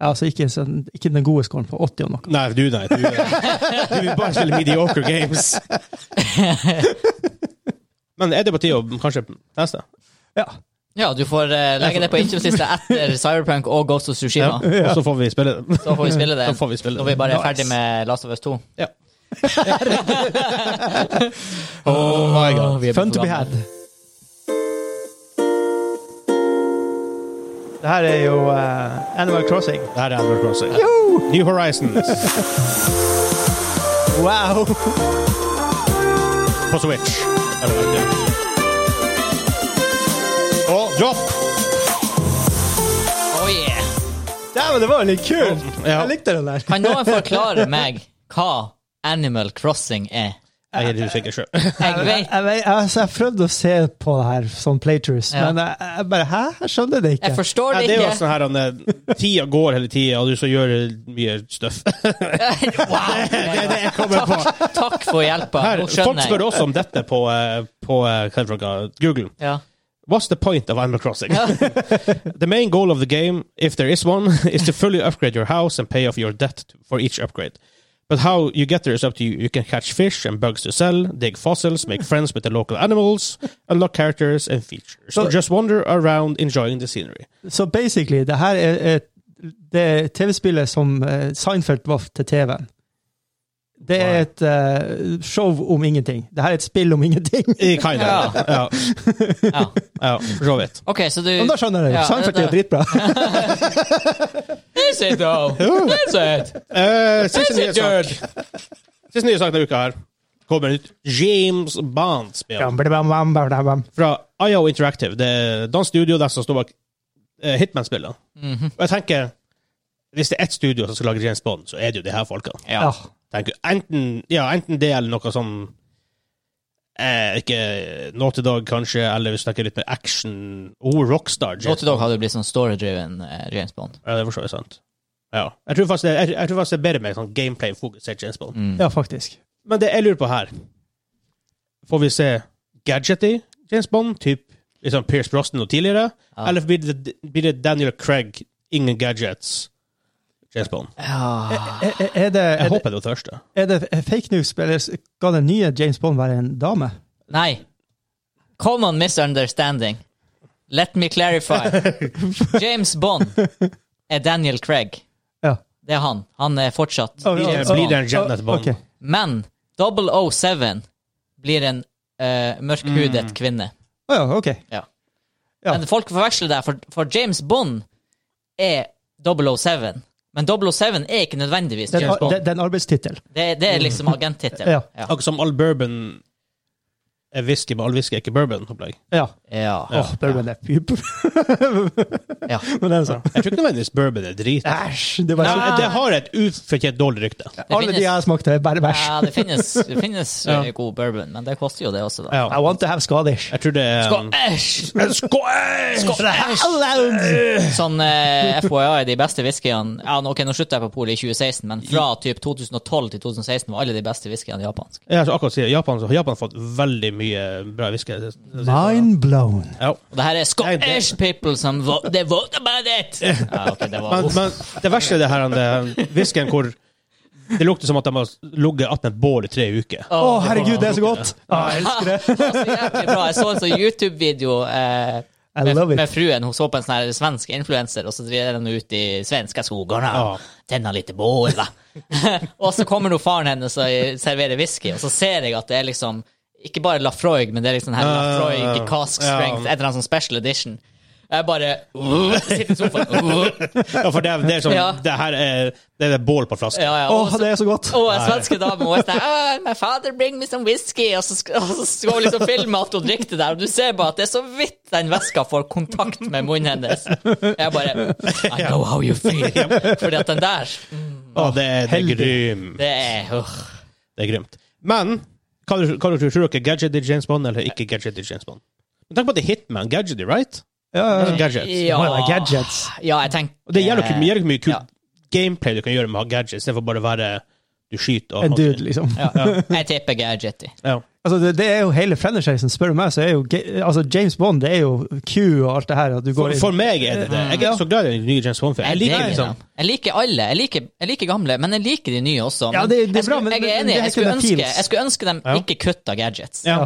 Ja, Altså ikke, sånn- ikke den gode scoren på 80 og noe.
Nei, du, nei. Du, eh, du vil bare spille mediocre games. Men er det på tide å kanskje teste?
Ja.
Ja, du får eh, legge det på innkjøpslista etter Cyberprank og Ghost of Tsushima.
Og så får vi spille det.
Så får vi spille det
Så får vi spille
når vi bare er
Nice.
ferdig med Last of Us 2.
Ja. oh my god.
Åh, vi er
Fun to be
for
had.
gamle.
Det her er jo eh, Animal Crossing.
Det her er Animal Crossing. New Horizons
Wow!
på Switch. Er det vel, ja. Og drop!
Oh, yeah.
Dæven, det var litt kult!
Ja.
Jeg likte den der.
Kan noen forklare meg hva Animal Crossing er?
Jeg er usikker sjøl.
Jeg
Jeg,
vet
jeg, vet- altså, jeg prøvde å se på det her som playtrues,
Ja.
men eh, jeg, jeg bare Hæ? Jeg skjønner det ikke.
Jeg forstår
Ja,
det
det er jo
ikke.
sånn her han, eh, Tida går hele tida, og du så gjør mye støff.
Wow.
Det jeg kommer på.
Takk for hjelpa.
Her,
Nå
folk
skjønner
spør
jeg.
også om dette på, eh, på eh, hva heter det, Google.
Ja.
What's the point of Animal Crossing?
Ja.
the main goal of the game, if there is one, is to fully upgrade your house and pay off your debt to- for each upgrade. But how you get there is up to you. You can catch fish and bugs to sell, dig fossils, make friends with the local animals, unlock characters and features, or just wander around enjoying the scenery.
Så basically, det her er, er det TV-spillet som eh, Seinfeld var til TV-en. Det er
Wow.
et eh, show om ingenting. Det her er et spill om ingenting.
Eh, Kind of.
Ja.
Ja,
ja.
ja, for så vidt.
OK, så du
Men da skjønner jeg det.
Ja,
Seinfeld er jo
det-
dritbra.
Is it though? Is it?
Eh, siste
Is
nye
it
sak.
good?
Siste nye sak denne uka her. Kommer ut James Bond-spill.
Bam, bam, bam, bam, bam, bam.
fra IO Interactive. Det er dansk studio der som står bak eh, Hitman-spillene.
Mhm.
Og jeg tenker hvis det er ett studio som skal lage James Bond, så er det jo de her folka.
Ja.
Ja.
Tenker, enten, ja, enten det eller noe sånn eh, Ikke Naughty Dog, kanskje, eller hvis du snakker litt med action Oh, Rockstar. James
Naughty Dog
Bond.
hadde blitt sånn story-driven eh, James Bond.
Ja, det er for så vidt sant. Ja. Jeg tror faktisk det, jeg, jeg tror faktisk det er bedre med sånn gameplay-fokusert James Bond.
Mm.
ja, faktisk.
Men det jeg lurer på her Får vi se gadgety James Bond, typ liksom Pierce Brosnan og tidligere?
Ja.
Eller blir det, blir det Daniel Craig ingen gadgets. James Bond.
Er, er- er, det,
Jeg
er, det,
håper det var første.
er det fake news, eller skal den nye James Bond være en dame?
Nei. Common misunderstanding. Let me clarify. James Bond er Daniel Craig.
Ja.
Det er han. Han er fortsatt
Ja, ja,
James
Blir det
Bond.
en Janet Bond?
Ok.
Men 007 blir en eh, mørkhudet kvinne.
Å ja, ok. Ja.
Men folk forveksler det, for, for James Bond er 007. Men 007 er ikke nødvendigvis
Den,
James Bond.
den, den arbeidstittel.
Det, det er liksom agenttittel.
Ja.
Ja.
Akkurat som all bourbon er whisky, men all whisky er ikke bourbon. opplegg.
Ja.
Ja.
Åh, bourbon er pup.
Ja.
Men den sånn.
Jeg tror ikke nødvendigvis bourbon er drit.
Æsj! Det var
Altså,
så,
Nei.
det har et ufortjent dårlig rykte.
alle de jeg har smakt, er bare bæsj.
Ja, det finnes, det finnes
Ja.
eh, god bourbon, men det koster jo det også, da.
I
Ja.
want to have Scottish.
Jeg tror det er um,
Skål! Æsj!
Skål!
Sånn eh, FYI, de beste whiskyene ja, nå- Ok, nå slutter jeg på polet i 2016, men fra typ 2012 til 2016 var alle de beste whiskyene japanske.
Jeg har akkurat sagt Japan, så Japan har fått veldig mye bra whisky.
Mind blown.
Ja.
Og det her er
Nei, det-
Scottish people som vo they vote about it! Ja, ok, det var
Men, men det verste er det her den der whiskyen hvor det lukter som at de har ligget attmed et bål i tre uker.
Å, herregud, det er så godt! Ah, Å, jeg elsker det.
Det var så jævlig bra. Jeg så en sånn YouTube-video eh,
I
med,
love it.
med fruen. Hun så på en sånn her svensk influenser, og så driver hun ut i svenska skogarna.
Ja.
Tenner lite bål, va. og så kommer nå faren hennes og serverer whisky, og så ser jeg at det er liksom ikke bare Lafroig, men det er liksom her
Ja, ja,
Lafroig
ja.
cask
Ja.
strength, et eller annet sånn special edition. Jeg bare sitter i sofaen.
Ja, for det er, det er som,
Ja.
det her er det er et bål på flaska.
Ja, ja.
Å,
Og så-
det er så godt.
Og en svenske dame hun er sånn «Ah, My father bring me some whisky Og så sk- og så skal hun liksom filme at hun drikker det der Og du ser bare at det er så vidt den veska får kontakt med munnen hennes Jeg bare I know how you feel Fordi at den der
Å, det er, det er
Heldig.
grym.
Det er øh.
Det er grymt. Men hva, du- hva du tror tror dere? Gadget i James Bond eller ikke gadget i James Bond? Men tenk på at det er Hitman. Gadget, right?
Ja, ja.
Gadget.
Det
ja,
må jo være gadgets.
ja, jeg tenker
Og det gjelder ikke mye, mye kult
Ja.
gameplay du kan gjøre med å ha gadgets, istedenfor bare å være du skyter og
En dude, liksom.
ja, eh, Jeg tipper gadget i
Ja.
Altså, det, det er jo hele franchisen, spør du meg, så er jo ga- altså, James Bond det er jo Q og alt det her. At du
For,
går inn.
for meg er det det. Jeg er
Ja.
ikke så glad i den nye James Bond-filmen. Jeg liker liksom
jeg liker alle. Jeg liker, jeg liker gamle, men jeg liker de nye også.
Ja,
Men
det- det er
jeg,
bra,
skulle,
men-
jeg
men
er
det
enig.
er
Jeg
ikke
skulle,
den
ønske,
feels.
jeg skulle ønske de
Ja.
ikke kutta gadgets.
ja.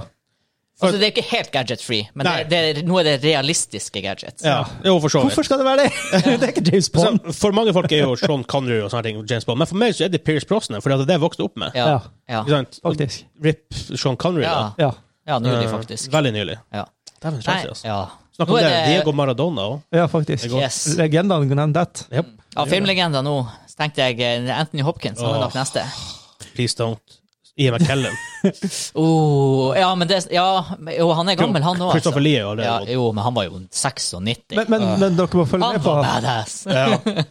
Altså, det er ikke helt gadget-free, men det,
Nei.
det er, nå er det realistiske gadgets.
ja. Jo, for så vidt.
Hvorfor skal det være det? det er ikke James Bond.
Så, Altså, for mange folk er jo Sean Connery og sånne ting, James Bond. men for meg så er det Pierce Brosnan, for det er det jeg vokste opp med.
Ja.
Ja.
Ja.
Ikke sant? Og
Faktisk.
Rip Sean Connery,
Ja.
da.
Ja.
Ja, nylig,
Eh,
faktisk.
Veldig nylig.
Ja.
Dæven
Nei,
sjanse, altså.
ja.
Snakk
Nå
om
er
det.
det-
Diego Maradona òg.
Ja, faktisk.
Yes.
Legendene kan nevne det.
Yep.
Av filmlegender nå så tenkte jeg eh, Anthony Hopkins. Han er nok
Åh.
neste.
Please don't. Ian McKellen.
Oh, ja, men det Ja, men- jo, han er gammel, han òg.
Christopher Lee er jo
Ja,
allerede
jo, men han var jo 96.
Men,
Ah.
men, men dere må følge
han
med på
var badass.
ja.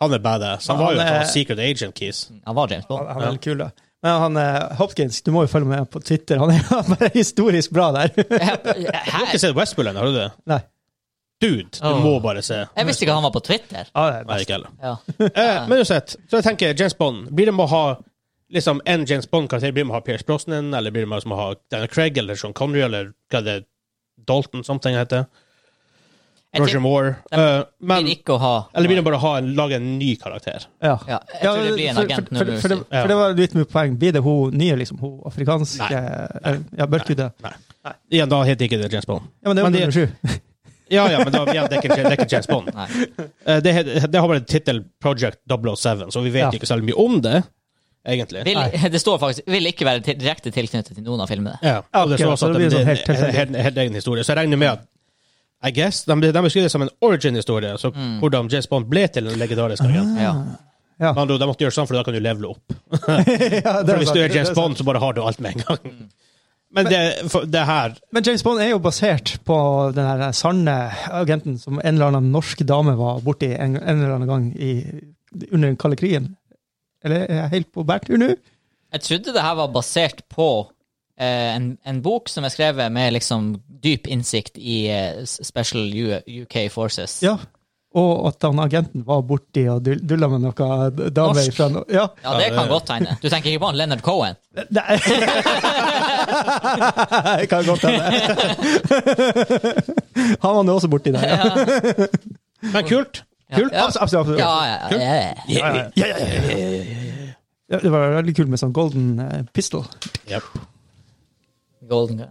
Han er badass. Han var jo
Han er-
sånn Secret Agent Keys.
Han var James Bond.
Han han er litt kul, da. Men han, eh, Hopkins, du må jo følge med på Twitter. Han er jo bare historisk bra der.
Du har
Hæ?
ikke sett Westworld ennå, har du det?
Nei.
Dude, du
Åh. Eh,
må bare se.
Jeg visste ikke han var på Twitter.
Ja, det
Nei,
er best.
ikke heller.
Ja.
Eh, men uansett, så jeg tenker James Bond. Blir det med å ha liksom en James Bond-karakter? Blir det med å ha Pierce Brosnan, eller blir det med å ha Daniel Craig, eller Sean Connery, eller hva det er, Dalton, something heter?
Jeg
Roger
tipper
Moore. Eh, men,
blir ikke å ha
eller blir det bare å ha en, lage en ny karakter?
Ja.
Ja, jeg tror det blir en
for-
agent
for- for- For,
nummer
det- for det var litt mitt poeng. Blir det hun nye, liksom? Hun afrikanske
Nei.
eh, Ja, mørkhudet?
Nei. Igjen, da heter ikke det James Bond.
Ja, men det er
Men
jo
de-
nummer sju.
Ja, ja, men da, igjen, det, er ikke, det er ikke James Bond.
Nei.
Eh, det, he- det har bare tittel Project 007, så vi vet
Ja.
ikke så veldig mye om det, egentlig.
Vil, det står faktisk Vil ikke være til, direkte tilknyttet til noen av filmene.
Ja, og det står
akkurat,
også at
så det
det
blir
det
sånn
er
helt
en
tilfeldig.
helt- helt egen historie. Så jeg regner med at I guess, De, de beskriver det som en origin-historie, så
Mm.
hvordan James Bond ble til en legendarisk agent.
Ja.
Men andre ord, De måtte gjøre sånn, for da kan du levele opp.
Ja, det
For
Ah. er
Hvis
sant,
du
det
er
er
James
sant.
Bond, så bare har du alt med en
Mm.
gang. Men det, for, det her
Men James Bond er jo basert på den her sanne agenten som en eller annen norsk dame var borti en, en eller annen gang i, under den kalde krigen. Eller er jeg helt på bærtur nå?
Jeg trodde det her var basert på eh, en, en bok som er skrevet med liksom dyp innsikt i eh, Special U UK Forces.
Ja. Og at han agenten var borti og dull- dulla med noen damer
Norsk.
fra no- Ja.
Ja, det kan godt hende. Du tenker ikke på han Leonard Cohen?
Nei. Jeg kan godt hende. Han var nå også borti der. Ja.
Men kult. Kult.
Ja.
Abs- Absolutt. absolutt.
Ja, ja, ja, ja, ja.
Ja, ja, ja, ja, ja.
Ja, Det var veldig kult med sånn golden eh, pistol.
Jep.
Golden Gun.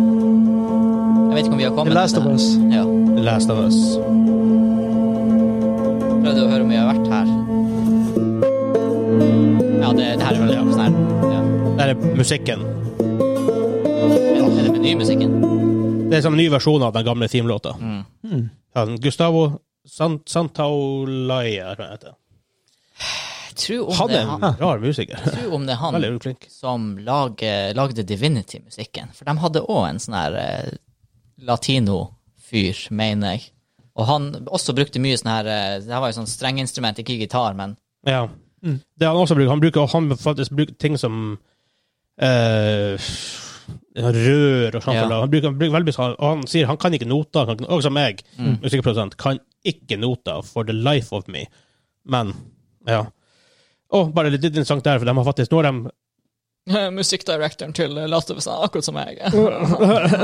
Jeg vet ikke om vi har kommet
The Last
til
of
det her.
Us.
Ja.
Last of Us.
Prøvde å høre om vi har vært her. Ja, det, det her er veldig bra. Sånn her. Ja.
Der er musikken.
Er det- Er det menymusikken?
Det er en sånn ny versjon av den gamle themelåta.
Mm.
Ja, den Gustavo Sant Santaolaya, tror jeg han heter.
Jeg tror om,
Han
det
er
er han,
en rar musiker.
jeg tror om det er han
Veldig flink.
som lager, lagde Divinity-musikken. For de hadde òg en sånn her eh, latino-fyr, mener jeg. Og han også brukte mye sånn her eh, Det her var jo sånn strengeinstrument, ikke gitar, men
Ja. Det han også bruker, han bruker han faktisk bruker ting som eh, rør og sånt.
Ja.
eller Han, bruker, han bruker veldig mye sånn- og han sier han kan ikke noter, han kan, og som jeg, musikkprodusent, kan ikke noter for the life of me. Men, ja. Og bare litt interessant der, for de har faktisk, nå har de
Musikkdirektoren til Latterbestand, akkurat som jeg.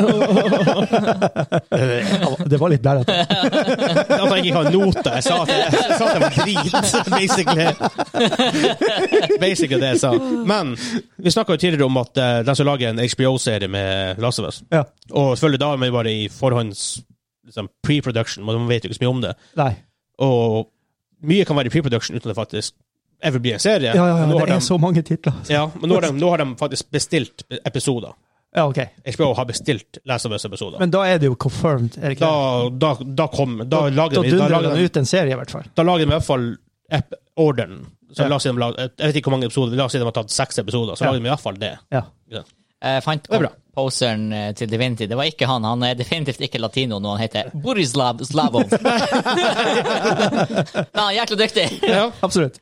eh,
Det var litt blærete.
At jeg ikke har noter. Jeg sa at jeg, jeg sa at jeg var drit, basically. Basically det jeg sa. Men vi snakka jo tidligere om at eh, de skal lage en HBO-serie med Last of Us.
Ja.
Og selvfølgelig da er vi bare i forhånds liksom, pre-production, og man vet jo ikke så mye om det.
Nei.
Og mye kan være i pre-production uten at det faktisk ever blir en serie.
Ja, ja,
Men
ja,
nå har
det er
de,
så mange titler.
ja, men nå har, de, nå har de faktisk bestilt episoder.
Ja, ok.
HBO har bestilt Last of Us-episoder.
Men da er det jo confirmed, er det ikke
Da,
det?
da, da, kom, da, lager
da
de, da
dundrer
lager de
han ut en serie, i hvert fall.
da lager de i hvert fall ep- orderen. Så
Ja.
la oss si de lag- jeg vet ikke hvor mange episoder, la oss si de har tatt seks episoder, så
Ja.
lager de i hvert fall det.
Ja.
Jeg fant
er bra.
poseren eh, til Divinity. Det var ikke han. Han er definitivt ikke latino nå. Han heter Borislav Slavov. Nei, jækla dyktig!
Ja.
Absolutt.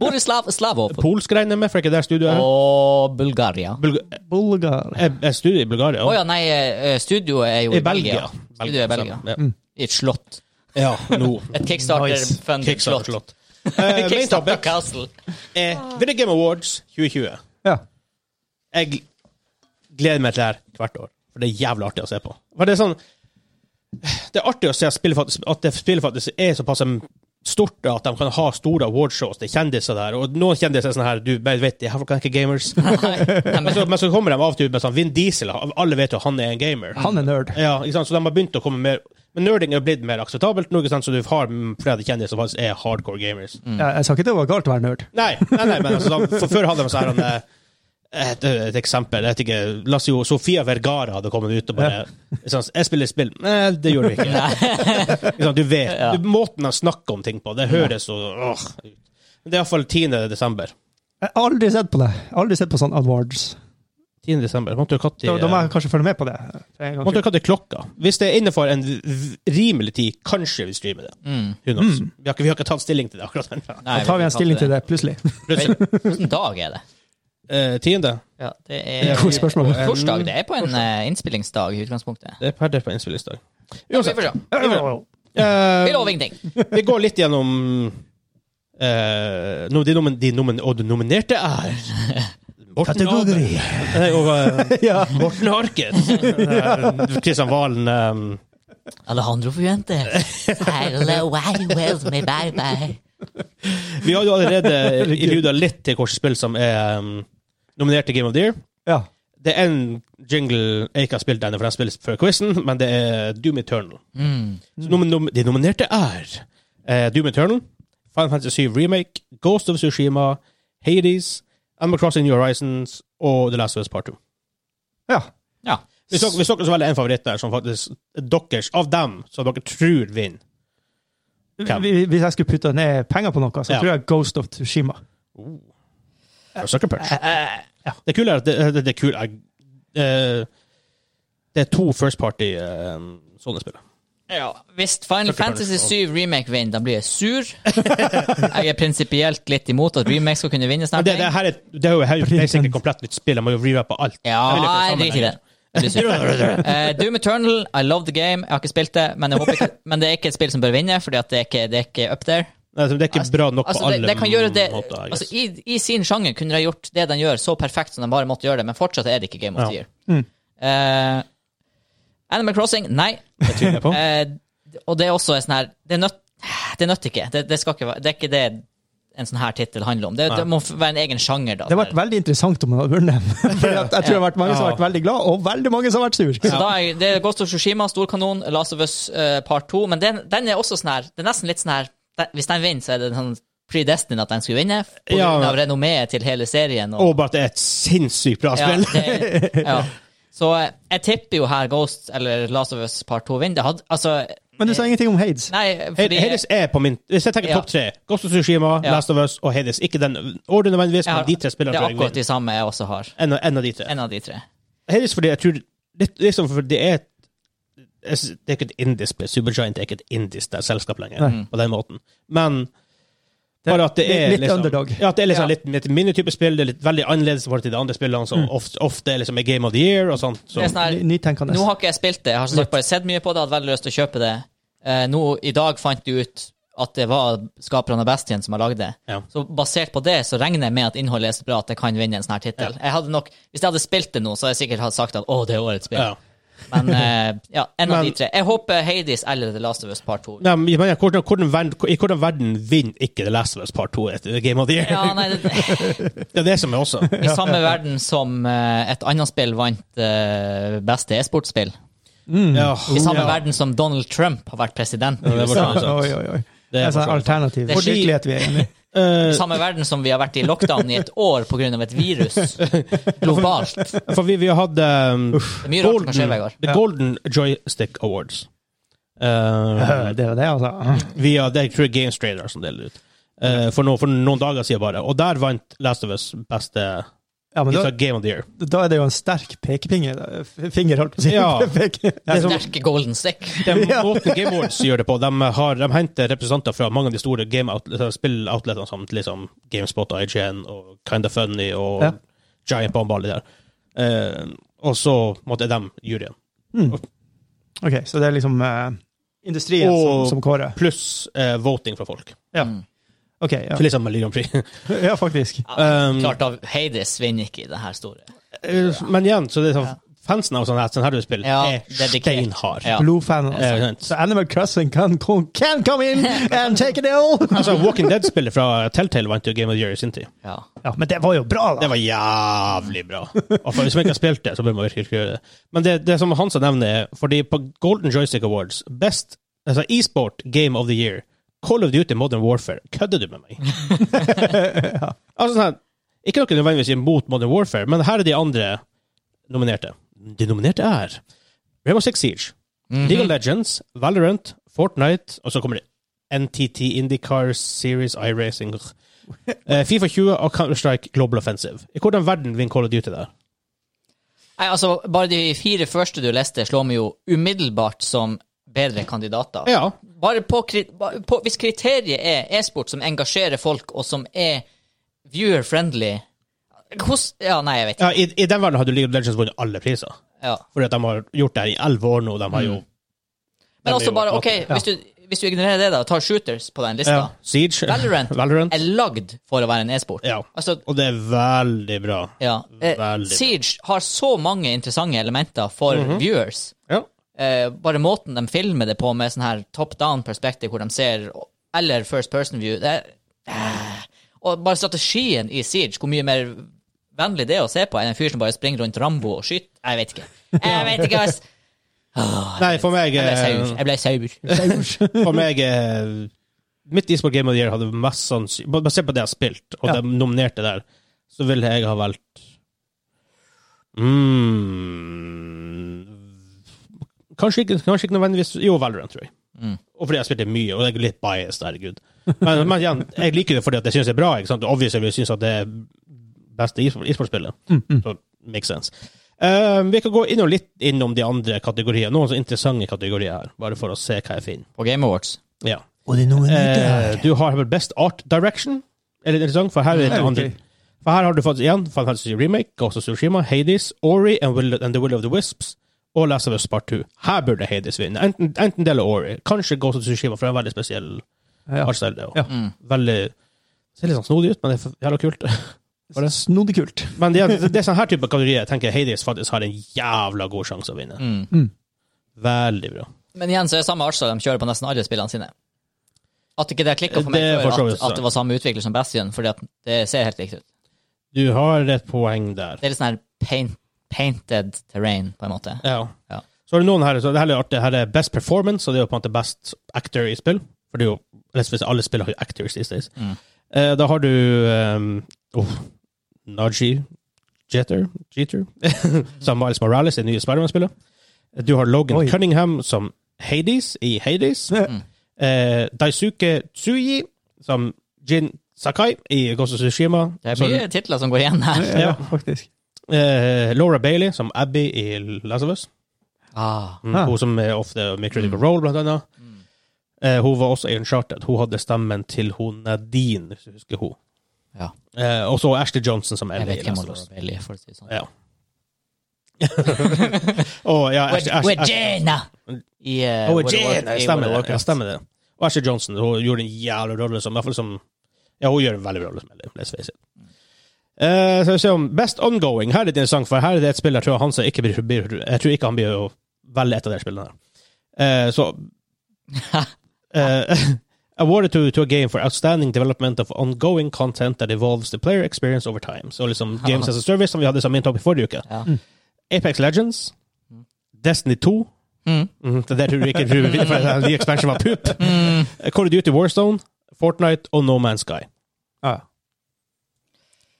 Borislav Slavov.
Polsk regner jeg med, for ikke det studioet her.
Og Bulgaria.
Bulga
Bulgar.
er, er studio i Bulgaria?
Å ja, nei, eh, studioet er jo
I Belgia.
Studioet er i Belgia.
Ja.
I et slott.
ja, nå.
Et kickstarter-funded
Kickstarter
slott.
slott. Eh, main
Kickstarter
topic
Castle.
er Video Game Awards 2020.
Ja.
Jeg gl- gleder meg til det her hvert år, for det er jævlig artig å se på. For det er sånn Det er artig å se at spillet faktisk, at det spillet faktisk er såpass stort at de kan ha store awardshows. Det er kjendiser der, og noen kjendiser er sånn her Du bare vet, de her folkene er ikke gamers. men, så, men så kommer de av og til med sånn Vin Diesel, alle vet jo han er en gamer.
Han er nerd.
Ja, ikke sant? Så de har begynt å komme mer Men nerding er blitt mer akseptabelt nå, ikke sant? så du har flere kjendiser som faktisk er hardcore gamers.
Ja, jeg sa ikke det var galt å være nerd.
Nei, nei, nei men altså, da- for før hadde de sånn her et, et eksempel. Jeg vet ikke, La oss si jo Sofia Vergara hadde kommet ut og bare sånn, 'Jeg spiller spill.' Nei, det gjør du ikke. Ikke sant, du vet.
Ja.
Du, måten de snakker om ting på, det høres så åh, ut. Men Det er iallfall 10. desember.
Jeg har aldri sett på det. Aldri sett på sånn awards.
10. desember. Man tror
Da, da må
når
jeg kanskje følge med på det. for en gangs skyld.
det er klokka. Hvis det er innenfor en v- rimelig tid, kanskje vi streamer det.
Mm.
Who knows? Vi, har ikke, vi har ikke tatt stilling til det akkurat ennå.
Nei,
Da tar vi en stilling til det plutselig.
Vet- Hvilken dag er det?
Eh, 10.
Ja, det
Det
er
er
Godt spørsmål.
en-
Torsdag. Det er på en eh, innspillingsdag i utgangspunktet.
Det er per det er på innspillingsdag.
Ja, vi får se.
Eh,
Vi lover ingenting.
Vi går litt gjennom eh, no, de, nomin, de nomin, og de nominerte er Morten
Kategori.
Abel. Eh, og, eh,
Ja.
Morten Harket. Eh, Kristian Valen eh,
Alejandro Fuentes. me bye bye.
Vi har jo allerede illuda litt til hvilke spill som er eh, nominert til Game of the Year.
Ja.
Det er en jingle jeg ikke har spilt ennå, for den spilles før quizen, men det er Doom Eternal.
Mm.
Så nom nom de nominerte er eh, Doom Eternal, Final Fantasy 7 Remake, Ghost of Tsushima, Hades, Animal Crossing New Horizons og The Last of Us Part 2.
ja.
Ja.
Vi snakker, vi snakker så veldig en favoritt der som faktisk deres, av dem som dere tror vinner. Hvem?
Hvis hvis jeg skulle putte ned penger på noe, så
Ja.
tror jeg Ghost of Tsushima.
Sucker Punch. Det kule er at det, det, det, kule er, eh, det er to first party eh, sånne spill.
Ja, Hvis Final
Takk for
Fantasy
det.
7 Remake vinner, da blir jeg sur. Jeg er prinsipielt litt imot at remake skal kunne vinne
Men
snart.
det, det, her er, det er jo her, er jo basically et komplett nytt spill. Jeg må jo rewrappe alt.
Ja,
Jeg vil ikke
jeg driter i det. Jeg blir sur. Eh, Doom Eternal, I love the game. Jeg har ikke spilt det, men, jeg håper ikke, men det er ikke et spill som bør vinne, Fordi at det er ikke, det er ikke up there.
Nei, det er ikke bra nok på
Altså, det,
alle
det kan gjøre det,
måter. I guess.
altså, i, I sin sjanger
Mm.
kunne de gjort det de gjør, så perfekt som de bare måtte gjøre det, men fortsatt er det ikke Game of the
Ja.
Year. Eh, Animal Crossing, nei.
Det tviler jeg på.
Eh, og det er også en sånn her Det er nødt det nødt ikke. Det, det, skal ikke være, det er ikke det en sånn her tittel handler om. Det, det må f- være en egen sjanger, da.
Det hadde vært veldig interessant om han hadde vunnet. For at jeg tror det har vært mange som har vært veldig glad, og veldig mange som har vært sur.
Så da er, det er Ghost of Tsushima, Storkanon, Last of Us eh, Part 2. Men den, den er også sånn her Det er nesten litt sånn her den, Hvis den vinner, så er det sånn predestined at den skulle vinne. På
Ja.
grunn av renommeet til hele serien. Og,
Og bare at det er et sinnssykt bra
ja,
spill.
det, ja. Så eh, jeg tipper jo her Ghost eller Last of Us Part 2 vinner. Det hadde Altså
Men du sa ingenting om Hades.
Nei,
Hades-
fordi
Hades er på min Hvis jeg tenker
Ja.
topp tre Ghost of Tsushima,
Ja.
Last of Us og Hades. Ikke den ordenen nødvendigvis,
jeg
men
har,
de tre spillene
det er
tror jeg
akkurat
vinner.
de samme jeg også har.
En, av- en av de tre.
En av de tre.
Hades fordi jeg tror litt, liksom for Det er et- jeg synes- det er ikke et indisk Supergiant er ikke et indisk der selskap lenger,
Nei.
på den måten. Men
Det er
bare at det er
litt- litt
liksom,
underdog.
Ja, at det er liksom
Ja.
litt, litt mindre type spill. Det er litt veldig annerledes i forhold til de andre spillene,
Mm.
som ofte, ofte er liksom er Game of the Year og sånt. Så,
Det er sånn her,
Ny- Nytenkende.
Nå har ikke jeg spilt det. Jeg har som sagt bare sett mye på det. Hadde veldig lyst til å kjøpe det. Eh, nå, I dag fant jeg ut at det var skaperne av Bastion som har lagd det.
Ja.
Så basert på det så regner jeg med at innholdet er så bra at jeg kan vinne en sånn her tittel. Jeg hadde nok, Hvis jeg hadde spilt det nå, så hadde jeg sikkert hadde sagt at å, det er årets spill.
ja.
Men eh, ja, en av
Men-
de tre. Jeg håper Hades eller The Last of Us Part 2.
Nei, men jeg mener, hvordan, hvordan, verden- I hvordan verden vinner ikke The Last of Us Part 2 et Game of the Year?
Ja, nei, det,
Det er det som er også.
I samme verden som eh, et annet spill vant eh, beste e-sportspill.
Mm.
Ja.
I samme
Oh, Ja.
verden som Donald Trump har vært president.
Ja, det var
ja,
sånn, sant.
oi, oi, oi. Det
Det
er
er for så
sånn
vidt sant.
alternativ
Det er
Fordi-
virkelighet vi er inne i.
Eh,
samme verden som vi har vært i lockdown i et år pga. et virus globalt. Det
for vi, vi har hatt um,
er mye rart som
Golden,
kan skje, Vegard.
The Golden Joystick Awards. Eh,
Det er jo det, altså.
via det tror jeg Games Trader som deler ut. Eh, for, noen- for noen dager siden bare. Og der vant Last of Us beste
Ja, men
de sa
da,
Game of the Year.
da er det jo en sterk pekefinger, finger, holdt på å si.
Ja.
Peke.
Det er sånn- som,
Sterke golden stick.
den måten Game Awards gjør det på, de, har, de henter representanter fra mange av de store game out- spilloutletene som liksom GameSpot og IGN og Kinda Funny og
Ja.
Giant Bomb og alle de der. Eh, og så måtte de juryen.
Ok, så det er liksom eh, industrien
Og-
som, som kårer.
Pluss eh, voting fra folk.
Ja.
Mm.
Ok, ja.
Til liksom Melodium Prix.
ja, faktisk.
Ja,
Um,
klart av Hades vinner ikke i det her store.
Eh, Men igjen, så det er sånn, fansen av sånne, her- sånne her du spiller,
Ja,
er
dedikert.
steinhard.
Ja.
Blodfan.
Eh,
Altså.
sant.
Så Animal Crossing kan, can come in and take it all!
altså, Walking Dead-spillet fra Telltale vant jo Game of the Year i sin tid.
Ja.
Ja, men det var jo bra, da!
Det var jævlig bra. Og for Hvis man ikke har spilt det, så bør man virkelig ikke gjøre det. Men det, det som Hansa nevner, er fordi på Golden Joystick Awards Best altså e-sport Game of the Year Call of Duty Modern Warfare. Kødder du med meg? altså sånn, her, Ikke noe nødvendigvis imot Modern Warfare, men her er de andre nominerte. De nominerte er Rainbow Six Siege, League of Legends, Valorant, Fortnite, og så kommer det NTT IndyCar Series iRacing. Eh, Fifa 20 og Counter-Strike Global Offensive. I hvordan verden vinner Call of Duty der?
Nei, altså, bare de fire første du leste, slår meg jo umiddelbart som bedre kandidater.
Ja.
Bare på, kri- bare på, hvis kriteriet er e-sport som engasjerer folk, og som er viewer-friendly Hos Ja, nei, jeg vet ikke.
ja i, I den verden hadde League of Legends vunnet alle priser.
Ja.
Fordi at de har gjort det her i elleve år nå. De har jo
Men
de er
også
jo
bare, OK,
aktive.
hvis du, hvis du ignorerer det, da, og tar shooters på den lista
ja. Siege.
Valorant.
Valorant.
er lagd for å være en e-sport.
Ja.
Altså,
Og det er veldig bra.
ja. Eh,
Veldig bra.
Siege har så mange interessante elementer for
Mhm.
viewers.
Ja.
Eh, bare måten de filmer det på med sånn her top down perspektiv, hvor de ser Eller first person view. Det er, eh. og bare strategien i Siege, hvor mye mer vennlig det er å se på enn en fyr som bare springer rundt Rambo og skyter. Jeg vet ikke. Jeg vet ikke, ass.
Nei, for meg
Jeg ble
eh,
saur. Jeg ble saur.
For meg eh, Mitt e-sport Game of the Year hadde mest sannsynlig Basert på det jeg har spilt, og
Ja.
de nominerte der, så ville jeg ha valgt mm, kanskje, ikke, kanskje ikke nødvendigvis Jo, Valorant, tror jeg. Og fordi jeg spilte mye, og jeg er litt biased, herregud. Men, men igjen, jeg liker det fordi at jeg syns det er bra. ikke sant? Obviously, jeg synes at det er beste e-sport- e-sportspillet. Så makes sense. Eh, vi kan gå innom litt innom de andre kategoriene. Noen så interessante kategorier her, bare for å se hva jeg finner.
På Game Awards.
Ja.
Og det er noe
Eh, du har vel Best Art Direction. Er det interessant? For her er det
Ja, ok.
andre. For her har du fått igjen Final Fantasy Remake, Ghost of Tsushima, Hades, Ori and, Will, and The Will of the Wisps og Last of Us Part 2. Her burde Hades vinne. Enten, enten det eller Ori. Kanskje Ghost of Tsushima, for det er en veldig spesiell
Ja.
artstyle. det også.
Ja.
Veldig Ser litt sånn snodig ut, men det er jævla kult.
Var det snodig kult?
Men det er, det er sånn her type kategorier jeg tenker Hades faktisk har en jævla god sjanse å vinne.
Mm.
Mm.
Veldig bra.
Men igjen så er det samme arsa de kjører på nesten alle spillene sine. At ikke det klikka for meg
Det er for så
før,
vidt
at, at det var samme utvikler som Bastion, fordi at det ser helt likt ut.
Du har et poeng der.
Det er litt sånn her paint, painted terrain, på en måte.
Ja.
Ja.
Så har du noen her, så det her er artig. Her er best performance, og det er jo på en måte best actor i spill. For det er jo rett og slett alle spill har jo actors these days.
Mm.
Eh, da har du um, oh, Naji Jeter, Jeter som Miles Morales i det nye Spiderman-spillet. Du har Logan
Oi.
Cunningham som Hades i Hades.
Mm.
Eh, Daisuke Tsuji som Jin Sakai i Ghost of Tsushima.
Det er
Så-
mye titler som går igjen her.
Ja.
Ja, faktisk.
Eh, Laura Bailey som Abby i Last of Us.
Ah.
Mm,
Ah.
Hun som er ofte med critical role, blant annet.
Mm.
Eh, hun var også i Uncharted. Hun hadde stemmen til hun Nadine, hvis du husker hun.
Ja.
Eh, og så Ashley Johnson som
Jeg
Ellie i
vet hvem
Last of
Laura
Us.
Bailey er, for å si det sånn.
Ja. Og, ja, Ashley- Ashley-
Regina! I eh,
Ashley-
World of
Regina,
Warcraft- i
Stemmer
World
det.
of
Ja,
Warcraft.
stemmer det. Og Ashley Johnson hun gjorde en jævla rolle som i hvert fall som Ja, hun gjør en veldig bra rolle som Ellie. Let's face it. Eh, så skal vi se om Best Ongoing. Her er det interessant, for her er det et spill jeg tror Hansa ikke blir, blir Jeg tror ikke han blir å velge et av de spillene her. Eh, så uh, awarded to, to a game for outstanding development of ongoing content that evolves the player experience over time. Så liksom Games as a Service, som vi hadde som min topp i forrige uke.
Ja.
Apex Legends, Destiny 2
Mm.
mm, Det der tror du ikke tror vi for den nye expansion var poop.
Mm.
Call of Duty Warstone, Fortnite og No Man's Sky.
Ja.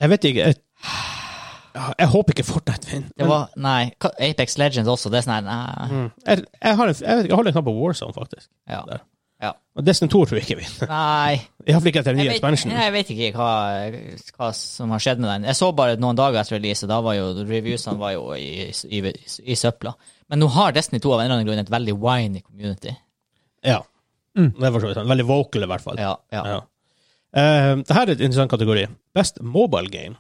Jeg vet ikke Jeg, jeg håper ikke Fortnite vinner.
Det var, nei, hva- Apex Legends også, det er sånn her, nei.
Mm. Jeg, jeg, har en, jeg, vet ikke, jeg holder en knapp på Warzone, faktisk.
Ja.
Der.
Ja.
Og Destiny 2 tror jeg ikke vinner.
Nei.
Iallfall ikke etter den nye
Jeg vet,
expansionen.
jeg vet ikke hva, hva som har skjedd med den. Jeg så bare noen dager etter release, og da var jo reviewsene var jo i, i, i søpla. Men nå har Destiny 2 av en eller annen grunn et veldig winy community.
Ja.
Mm.
Det er for så vidt sant. Veldig vocal, i hvert fall.
Ja, ja.
Ja. Eh, det her er en interessant kategori. Best mobile game.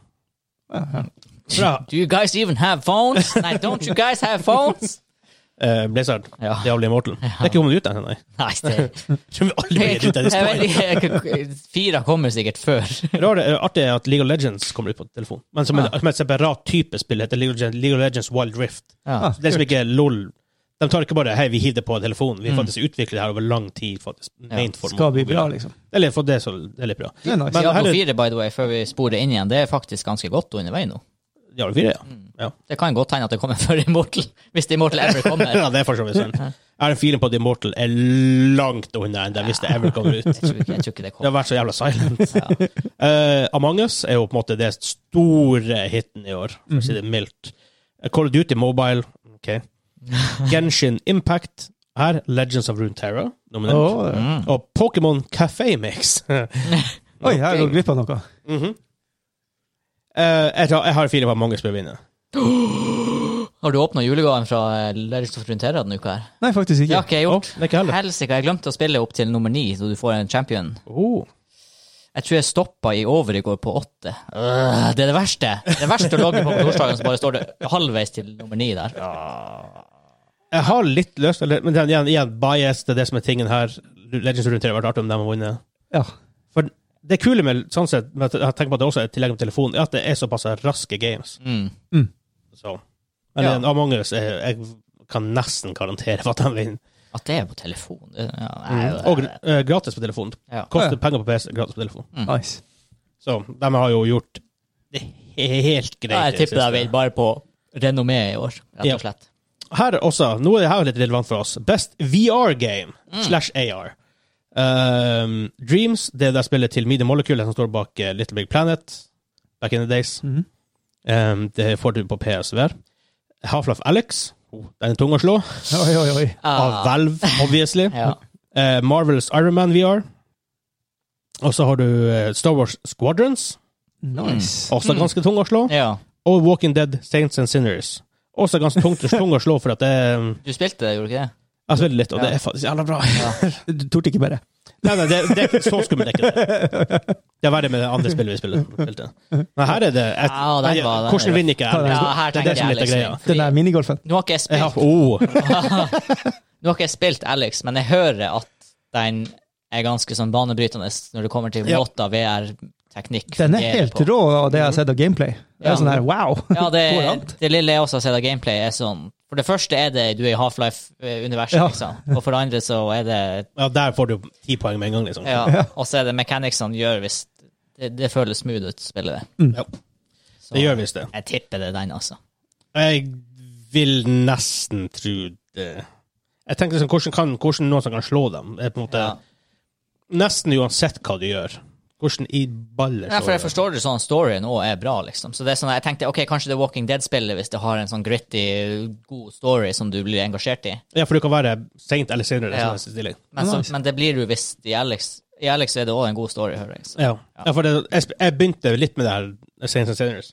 Ja, ja.
Fra
Do you guys even have phones? Nei, don't you guys have phones?
eh, Blizzard.
Ah. Ja.
Diablo Immortal. Det er ikke kommet ut ennå, nei.
Nei, det
Tror vi aldri
jeg
blir ut av det
vet
spillet.
ikke. Fire kommer sikkert før.
Rare, eh, artig er at League of Legends kommer ut på telefon. Men som, en, som et separat type spill heter League of, Legends, League of Legends Wild Rift.
Ja.
Så det er som ikke LOL. De tar ikke bare 'hei, vi hiver det på telefonen'. Vi faktisk utvikler det her over lang tid. faktisk. Main for
Mm. Skal bli
mobile.
bra, liksom.
Eller for det, så det er litt bra.
Det er nice.
Men-
Diablo
heller-
4, by the way, før vi sporer inn igjen, det er faktisk ganske godt undervei nå.
Diablo 4, ja.
Mm.
Det kan godt hende at det kommer før Immortal, hvis Immortal ever kommer.
ja. Det er for så vidt sant. Jeg har en feeling på at Immortal er langt unna enn det hvis det ever kommer ut.
Jeg tror ikke, jeg tror ikke det
Det
kommer.
har vært så jævla silent.
Ja.
Eh, Among us er jo på en måte det store hiten i år, for å si det
Mhm.
mildt. Eh, Call of Duty Mobile, ok. Genshin Impact her. Legends of Runeterra, nominert.
Å, ja.
Mm.
Og Pokémon Café Mix. Eh,
Oi, jeg har gått glipp av noe.
Mhm. Eh, jeg, tar, jeg har en feeling på at mange spør vinne.
Har du åpna julegaven fra eh, Legends of Frontera denne uka? her?
Nei, faktisk
Det
ikke.
har ikke jeg
Å,
gjort.
det er ikke heller.
Helsike, jeg glemte å spille opp til nummer ni, så du får en champion.
Oh.
Jeg tror jeg stoppa i over i går på åtte. Øh, det er det verste. Det er det verste å logge på på torsdagen, så bare står det halvveis til nummer ni der.
Jeg har litt lyst, eller, men igjen, igjen bias, det er det som er tingen her. Legends of Runeterra har vært artig om de har vunnet.
Ja.
For det kule med, sånn sett, med at jeg tenker på at det også er tilgjengelig på telefonen, er at det er såpass raske games.
Mm.
Så. Men
Ja.
en Among us er, jeg kan nesten garantere for at de vinner.
At det er på telefon det- ja,
Og
nei, det-
eh, gratis på telefon.
ja.
Koster
Ja.
penger på PC, gratis på telefon.
Mm.
Nice.
Så de har jo gjort det helt greit.
Ja,
i
Jeg
det
tipper jeg
siste.
vil bare på renommé i år, rett
Ja.
og slett.
Her også, noe er det her litt relevant for oss. Best VR-game
Mm.
slash AR. Um, Dreams, det der spillet til Media Molecule, som står bak eh, Little Big Planet, back in the days.
Mhm.
Um, det får du på PSVR. Half-Life Alex, oh, den er tung å slå,
Oi, oi, oi.
av
Ah,
Valve, obviously.
ja.
Eh, Marvel's Iron Man VR. Og så har du eh, Star Wars Squadrons,
Nice.
også ganske tung å slå.
ja.
Og Walking Dead Saints and Sinners. Også ganske tungt, tung å slå, for at det er-
Du spilte det, gjorde du ikke det?
Jeg spiller litt, og det
Ja.
er faktisk jævla bra.
Mm.
Du torde ikke bare.
Nei, nei, det, det er ikke så skummelt, det er ikke det. Det er verre med det andre spillet vi spiller. spilte. Men her er det et,
Ja, den var- den-
Hvordan vinner ikke jeg?
Ja,
her
det er det
tenker
som er
jeg
litt av greia.
liksom.
Den der minigolfen.
Nå har ikke jeg
Jeg
spilt
har, oh,
Nå har ikke jeg spilt Alex, men jeg hører at den er ganske sånn banebrytende når det kommer til
Ja.
måter VR teknikk
Den er
fungerer
helt
på.
rå, og det jeg har sett av gameplay. Det
Ja.
er sånn her, wow!
Ja, det,
Går det an?
det lille jeg også har sett av gameplay, er sånn For det første er det du er i Half-Life-universet,
Ja.
liksom. Og for det andre så er det
Ja, der får du ti poeng med en gang, liksom.
Ja. Og så er det mechanicsene gjør hvis det, det føles smooth ut, spillet.
Mm.
det.
Ja.
Så
Det gjør visst det.
jeg tipper det er den, altså.
Jeg vil nesten tro det. Jeg tenker liksom, hvordan, kan, hvordan noen som kan slå dem? Det er på en måte
Ja.
Nesten uansett hva du gjør. Hvordan i baller
Ja, for jeg
du dem?
forstår det sånn at storyen òg er bra, liksom. Så det er sånn, at jeg tenkte ok, kanskje det er Walking Dead-spillet, hvis det har en sånn gritty, god story som du blir engasjert i.
Ja, for du kan være seint eller senere. som
Ja.
er stilling.
Men, så,
Nice.
Altså, men det blir du hvis i Alex. I Alex er det òg en god story, hører jeg. Så.
Ja. ja, for det, jeg, sp- jeg begynte litt med det her senest og senere.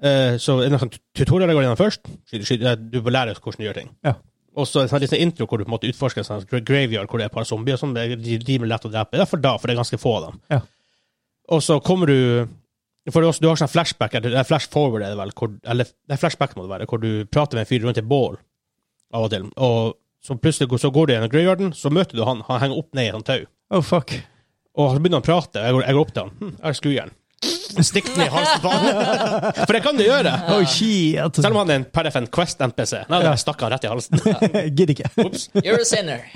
Eh, så er det noen sånn tu- tutorialer jeg går gjennom først. Skyter, skyter, du får lære hvordan du gjør ting.
Ja.
Og så en sånn liten intro hvor du på en måte utforsker en sånn gra- graveyard hvor det er et par zombier og sånn. Det er ri- rimelig lett å drepe. Det er for da, for det er ganske få av dem.
Ja.
Og så kommer du For du, også, du har sånn flashback, eller det er flash forward, er det vel, hvor, eller det er flashback må det være, hvor du prater med en fyr rundt et bål av og til. Og så plutselig går- så går du gjennom graveyarden, så møter du han, han henger opp ned i et sånt tau.
Oh, fuck.
Og så begynner han å prate, og jeg går, jeg går opp til han. Hm, jeg har skrujern. Stikk den i halsen på han. For det kan du gjøre.
Oh, shit!
Selv om han er en perifent Quest-NPC. Nei, da stakk han rett i halsen.
Gidder ikke.
Ops.
You're a sinner.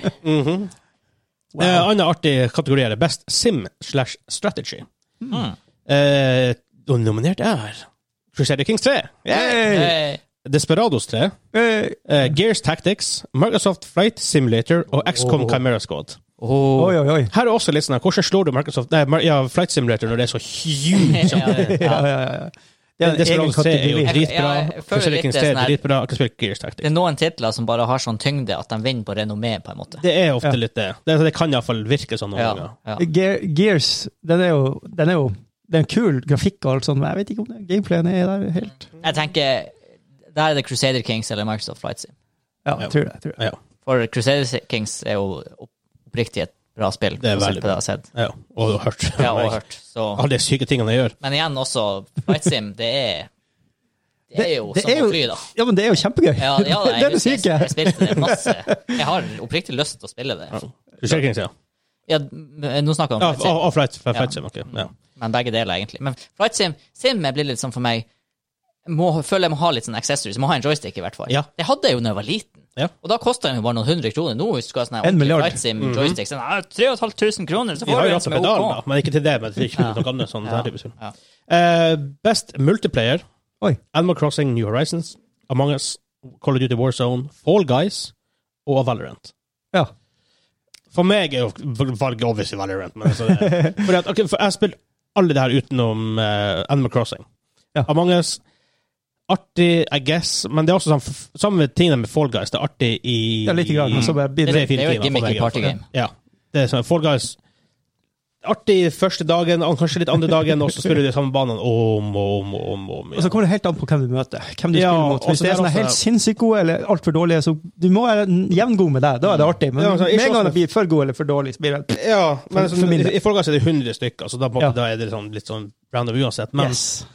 Wow.
Eh, annen artig kategori er det Best Sim slash Strategy.
Mm.
Eh, og nominert er Crusader Kings 3,
Hey.
Eh,
Desperados 3,
Hey.
eh, Gears Tactics, Microsoft Flight Simulator og XCOM
Oh.
Chimera Squad.
oh.
Oi, oi, oi.
Her er også litt sånn her, Hvordan slår du Microsoft, nei, Mar- ja, Flight Simulator når det er så huge?
ja, det-
Ja,
ja.
ja, ja, ja. Det er en egen
Desperados 3 er jo
kategori.
Jeg-
dritbra.
ja, jeg føler
Crusader
litt
Kings
det
3
sånn
er
her-
dritbra. Jeg kan spille Gears
Det
Tactics.
er noen titler som bare har sånn tyngde at de vinner på renommé, på en måte.
Det er ofte
Ja.
litt det. Det, det kan iallfall virke sånn noen
Ja,
ganger.
ja.
Ge- Gears, den er jo, den er jo det er en kul grafikk og alt sånt, men jeg vet ikke om det- gameplayen er der helt.
Jeg tenker Der er det Crusader Kings eller Microsoft Flight Sim.
Ja, jeg tror det. Jeg tror det.
Ja,
For Crusader Kings er jo opp- oppriktig et bra spill.
Det er
basert
veldig
på det jeg har sett.
ja. Og du har hørt.
Ja, og hørt. Så.
Alle de syke tingene jeg gjør.
Men igjen, også Flight Sim, det er Det er jo
Det- det
som
er jo-
å fly, da.
Ja, men det er jo kjempegøy.
Ja, ja,
det er det
jeg, jeg, jeg
syke.
spilte det masse. Jeg har oppriktig lyst til å spille det.
Crusader Kings, ja.
Ja, nå snakker jeg
Ja,
om Flight Sim.
og, og Flight, Flight
Ja.
Sim. ok. Ja.
men begge deler, egentlig. Men Flight Sim, Sim blir litt sånn for meg må, Føler jeg må ha litt sånn accessories. Jeg må ha en joystick, i hvert fall.
Ja.
Det hadde jeg jo da jeg var liten.
Ja.
Og da kosta den jo bare noen hundre kroner. Nå hvis du skal ha sånn her
En
ordentlig
milliard.
Flight Sim joystick, sånn, ah, 3500 kroner, så
Mhm. Vi
får
har jo
du en
hatt
som er
pedal,
OK.
da, men ikke til det. Men til ikke
Ja.
noe annet, sånn,
Ja.
den type spill.
Ja.
Eh, best multiplayer
Oi.
Animal Crossing New Horizons, Among Us, Call of Duty War Zone, Fall Guys og Valorant.
Ja.
For meg er jo valget obviously Valorant. Men altså, det- fordi at, ok, for jeg spiller alle det her utenom eh, Animal Crossing.
Ja.
Among Us Artig, I guess, men det er også sånn, f- samme tingene med Fall Guys. Det er artig i
ja, litt grann, men så bare blir
Det,
det
Tre, fire
det er
timer
jo et
på
gimmicky
begge,
partygame.
Ja. Det er sånn, Fall Guys Artig første dagen, an- kanskje litt andre dagen, og så spiller du de samme banene om og om og om. og om
Og så
igjen.
kommer det helt an på hvem du møter. Hvem du
Ja,
spiller mot. Hvis
også
det er
der
sånne
også-
helt sinnssykt gode eller altfor dårlige, så du må være jevngod med deg. Da er det artig. Men
Ja, altså, ikke
med en gang
også-
det blir for god eller for dårlig, så blir det
Ja, men
For-
sånn,
for min del.
i, i Fall Guys er det 100 stykker, så da, på en måte-
Ja.
da er det sånn, litt sånn random uansett. Men
Yes.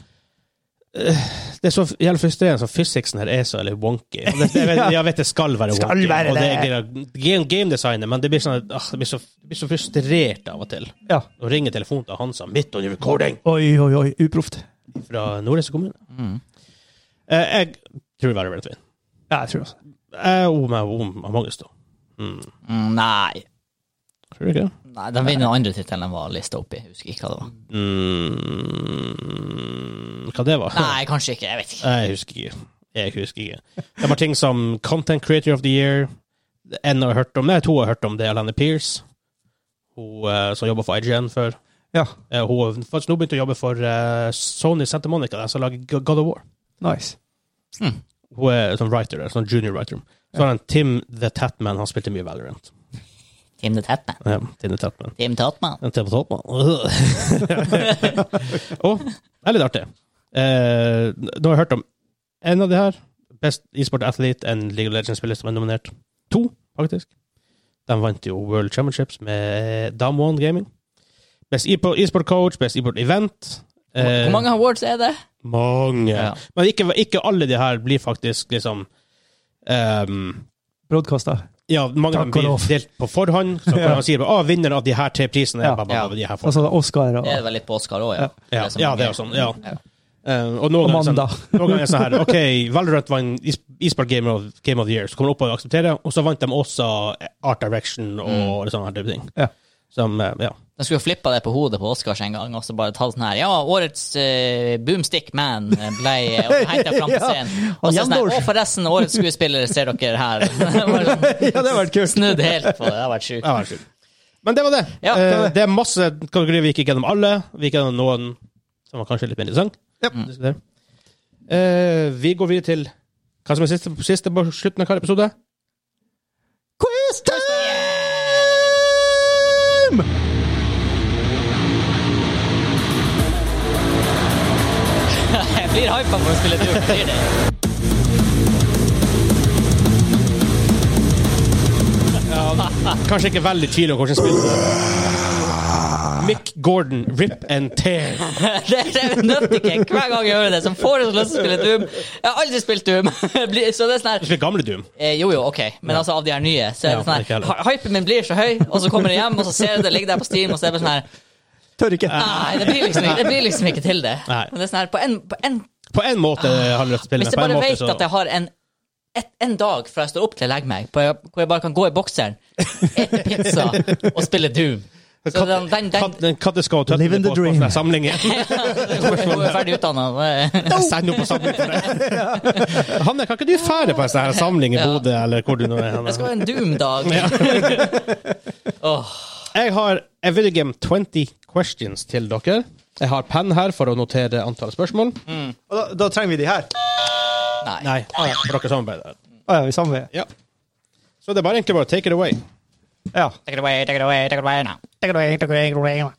det er så jævlig frustrerende, så physicsen her er så eller wonky. Og Det, jeg, vet, jeg vet det skal være
Skal
wonky,
være
og det
det.
er game, gamedesignet, men det blir, sånn, at, ah, det, blir så, det blir så frustrert av og til
Ja.
å ringe telefonen til Hansa midt under recording
Oi, oi, oi. Uproft.
fra Nordreisa kommune.
Mm.
Eh, jeg tror det blir Vin.
Ja, jeg tror også.
Eh, om, om, om Magnus, da. Mm.
Mm, Nei.
Tror du ikke?
Nei, De vinner den andre tittelen de var lista opp i. Husker ikke hva det var.
Mm, hva det var?
Nei, kanskje ikke. Jeg vet ikke.
Jeg husker ikke. Jeg husker ikke. Det var ting som Content Creator of the Year. En har hørt om det, to har hørt om det. Alana Pierce, hun eh, som jobba for IGN før.
Ja.
Eh, hun har faktisk nå begynt å jobbe for eh, Sony Santa Monica, der som lager Go- God of War.
Nice.
Hun er sånn writer der, sånn junior writer. Så har han Tim The Tatman, han spilte mye Valorant.
Team The Tatman.
Ja, Tim The Tatman.
Team Tatman.
En TV på toppen. Å, det er litt artig. Eh, nå har jeg hørt om en av de her. Best e-sport athlete, en League of Legends-spiller som er nominert. To, faktisk. De vant jo World Championships med Dam One Gaming. Best e-po- e-sport coach, best e-sport event. Eh,
Hvor mange awards er det?
Mange.
Ja.
Men ikke, ikke alle de her blir faktisk liksom ehm,
Broadcaster.
Ja, mange av dem
Takk og
blir
lov.
delt på forhånd. Så
Ja.
han sier bare, ah, vinneren av de her tre prisene er
Ja.
bare, bare, bare, de her folk.
Altså Oscar og
Det er vel litt på Oscar òg, ja.
Ja,
som
ja, det er
mange-
jo sånn. Ja. Eh, og noen ganger, sånn,
Amanda.
noen ganger sånn her OK, Valorant vant is- Esports Game, of- Game of the Year, så kommer de opp og aksepterer, og så vant de også Art Direction og sånne her type ting.
Ja.
Som, eh, ja.
De skulle jo flippa det på hodet på Oscars en gang og så bare tatt sånn her Ja, årets eh, Boomstick Man eh, ble henta fram på
Ja,
scenen.
han
Og så sånn her,
Jandorf.
Å, forresten, årets skuespiller ser dere her. liksom
Ja, det hadde vært kult.
Snudd helt på det. Det har vært sjukt.
Ja, vær så god. Men det var det.
Ja,
Eh,
det
var det.
det er masse kategorier vi gikk gjennom alle. Vi gikk gjennom noen som var kanskje litt mer interessant. Mm.
Ja.
å diskutere. Eh, vi går videre til hva som er siste, siste på slutten av hver episode.
Quiz time!
Jeg blir hypa for å spille et ord, blir det.
Kanskje ikke veldig tvil om hvordan spillet er. Mick Gordon, rip and tear.
Det det er nøttekick hver gang jeg hører det, som får en lyst til å spille Doom. Jeg har aldri spilt Doom. Blir- Så det er sånn her
Det er gamle Doom.
eh, Jo, jo, ok, men altså av de her nye, så er
Ja,
det sånn
ikke
her
heller.
hy- Hypen min blir så høy, og så kommer jeg hjem, og så ser jeg det ligger der på Steam, og så er det bare sånn her
Tør ikke.
Nei, det blir liksom, ikke- det blir liksom ikke til det.
Nei.
Men det er sånn her, på en, på en,
På en måte har jeg lyst til å spille
Ah. hvis
det.
jeg
På en
bare
måte
vet
så
at jeg har en, et, en dag fra jeg står opp til jeg legger meg, på, hvor jeg bare kan gå i bokseren, ete pizza og spille Doom Så den, den, den,
Katt- Katter skal tøtte
Live in
på
the dream.
på samlingen.
Hun er ferdig utdanna.
Send henne på samling for det. Hanne, kan ikke du fære på en sånn her samling i
Ja.
Bodø, eller hvor du nå er? Hanne?
Jeg skal ha en Doom-dag. Åh,
Jeg har A Video Game 20 questions til dere. Jeg har penn her for å notere antall spørsmål.
Mm.
Og da, da trenger vi de her.
nei.
Nei, Ah, for dere samarbeider.
Å ja, vi samarbeider.
Ja. Så det er bare egentlig bare take it away.
Ja.
Take it away, take it away, take it away now.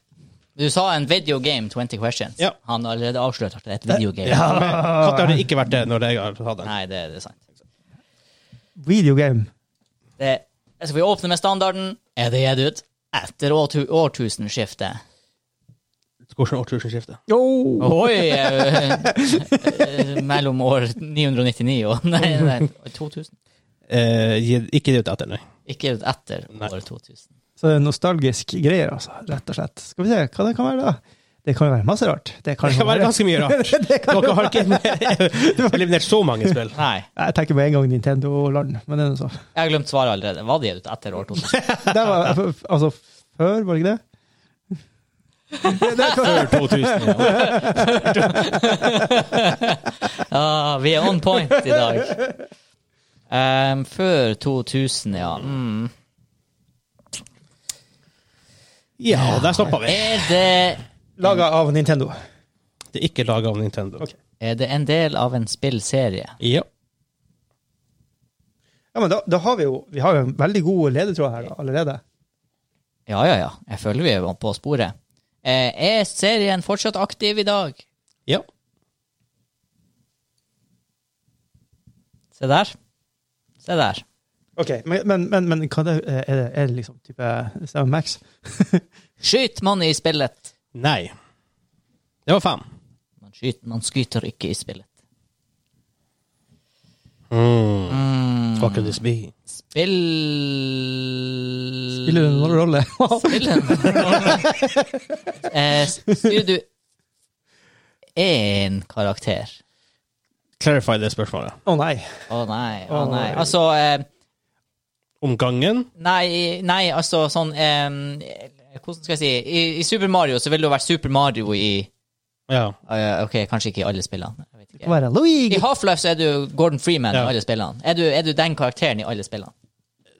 Du sa en video game, 20 questions.
Ja.
Han har allerede avslørt at det er et video game.
Katter har det ikke vært det når jeg har hatt den.
Nei, det, det er sant.
Videogame.
Det, skal vi åpne med standarden? Er det gitt ut? Etter årtu, årtusenskiftet.
Hvordan årtusenskifte?
Jo!
Oi! eh, eh, mellom år 999 og Nei, nei, 2000.
Eh, gi- ikke det ut etter, nei.
Ikke etter
Nei.
år 2000.
Så det er nostalgisk greier, altså. Rett og slett. Skal vi se hva det kan være, da? Det kan jo være masse rart. Det kan,
Det
jo
kan være ganske mye rart. Dere har ikke eliminert så mange spill.
Nei.
Jeg tenker med en gang Nintendo-land, men det er noe så.
Jeg har glemt svaret allerede. Var det gitt ut etter år 2000?
Det var, altså, før, var det ikke det?
Før 2000. Ja.
Ja, vi er on point i dag. Ehm, før 2000, ja. Mm.
ja, der stoppa vi.
Er, det,
Laga av Nintendo.
Det er ikke laga av Nintendo.
Ok.
er det en del av en spillserie?
Ja.
Ja, men da, da har vi jo vi har jo en veldig god ledetråd her da, allerede.
Ja, ja, ja. Jeg føler vi er på sporet. Eh, er serien fortsatt aktiv i dag?
ja.
Se der. Se der.
Ok, Men, men, men, men hva det, er, det, er det liksom type Sam Max?
Skyt man i spillet?
Nei. Det var fem.
Man, skyter, man skyter ikke i spillet.
Mm.
Mm.
What could this be?
Spill...
Spiller det noen rolle?
Spillen. eh, styrer du én karakter?
Clarify det spørsmålet.
Å nei.
Å nei, å
Å,
nei.
nei.
Altså eh,
Om gangen?
Nei, nei, altså sånn eh, Hvordan skal jeg si I, I Super Mario så ville det jo vært Super Mario i
Ja.
eh, Ok, kanskje ikke i alle spillene. Jeg vet
Hva
ikke.
er det? Luigi?
I Half-Life så er du Gordon Freeman
Ja.
i alle spillene. Er du, er du den karakteren i alle spillene?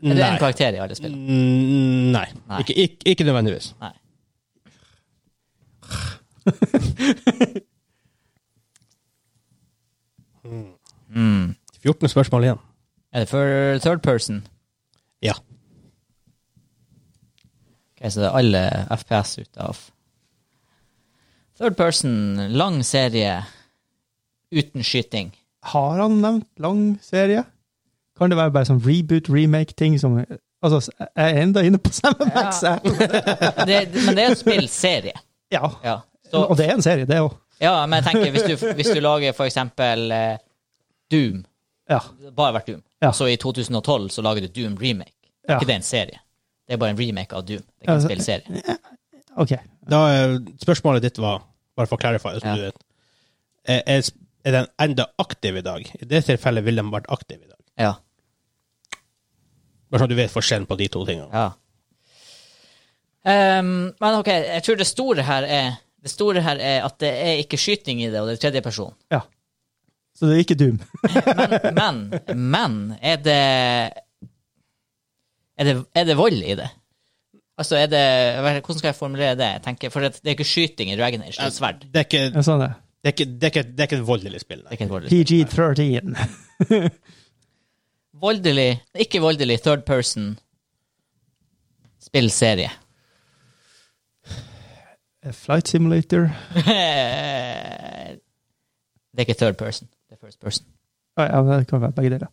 Er du en
Nei.
karakter i alle spillene?
Mm, Nei.
Nei.
Ikke, ikke, ikke nødvendigvis.
Nei. Mm.
14 spørsmål igjen.
Er det for third person?
Ja.
Ok, så det er alle FPS ut av. Third person, lang serie, uten skyting.
Har han nevnt lang serie? Kan det være bare sånn reboot, remake-ting som Altså, jeg er enda inne på Sam Max. jeg.
Det, men det er en spillserie.
Ja.
Ja.
Og
Så,
det er en serie, det òg.
ja, men jeg tenker, hvis du, hvis du lager for eksempel eh, Doom,
Ja.
det har bare vært Doom,
Ja.
så i 2012 så lager du Doom Remake.
Ja.
Ikke det er en serie. Det er bare en remake av Doom. Det er ikke en
Altså,
spillserie.
OK.
Da, eh, spørsmålet ditt var, bare for å clarify, så
Ja.
du vet, er, er sp- er den enda aktiv i dag? I det tilfellet ville den vært aktiv i dag.
Ja.
Bare sånn at du vet forskjellen på de to tingene.
ja. Ehm, men OK, jeg tror det store her er det store her er at det er ikke skyting i det, og det er tredjeperson.
Ja. Så det er ikke Doom.
Men, men er det er det, er det vold i det? Altså, er det Hvordan skal jeg formulere det? Jeg tenker, for det det er ikke skyting i Dragon Age, det er et sverd.
Det er ikke,
Ja, sånn er det.
det er ikke, det er ikke, det er ikke et voldelig spill.
Det er
Nei.
ikke et vold.
PG-13.
Voldelig, ikke voldelig, third person spillserie.
Flight Simulator.
det er ikke third person, det er first person.
Ja, ja, men det kan være begge deler.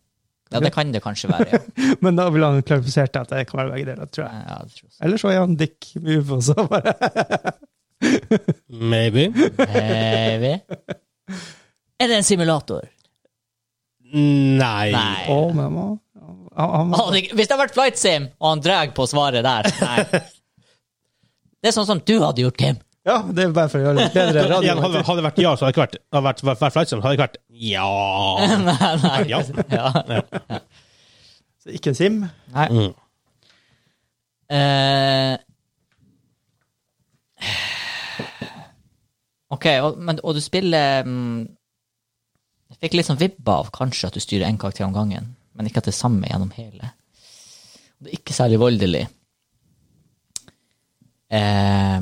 Ja, det kan det kanskje være. Ja.
Men da ville han klarifisert at det kan være begge deler, tror jeg.
Ja, det tror jeg.
Eller så er han Dick Move også. Bare.
Maybe.
Eh, vi- Er det en simulator?
Nei.
Nei.
Å, mamma. Han, han,
Hadde ikke- Hvis det hadde vært flight sim, og han drar på svaret der Nei. Det er sånn som du hadde gjort, Kim.
ja, det er bare for å gjøre det bedre
Igjen,
radio.
hadde, hadde det vært ja, så hadde det ikke vært, hadde vært, vært, vært flight sim, hadde det ikke vært ja.
Nei, nei.
Ja.
Ja.
Så ikke en sim.
Nei.
Mm.
Eh, OK, og, men, og du spiller mm, Jeg fikk litt sånn vibba av kanskje at du styrer én karakter om gangen, men ikke at det er samme gjennom hele. Og det er ikke særlig voldelig. Eh,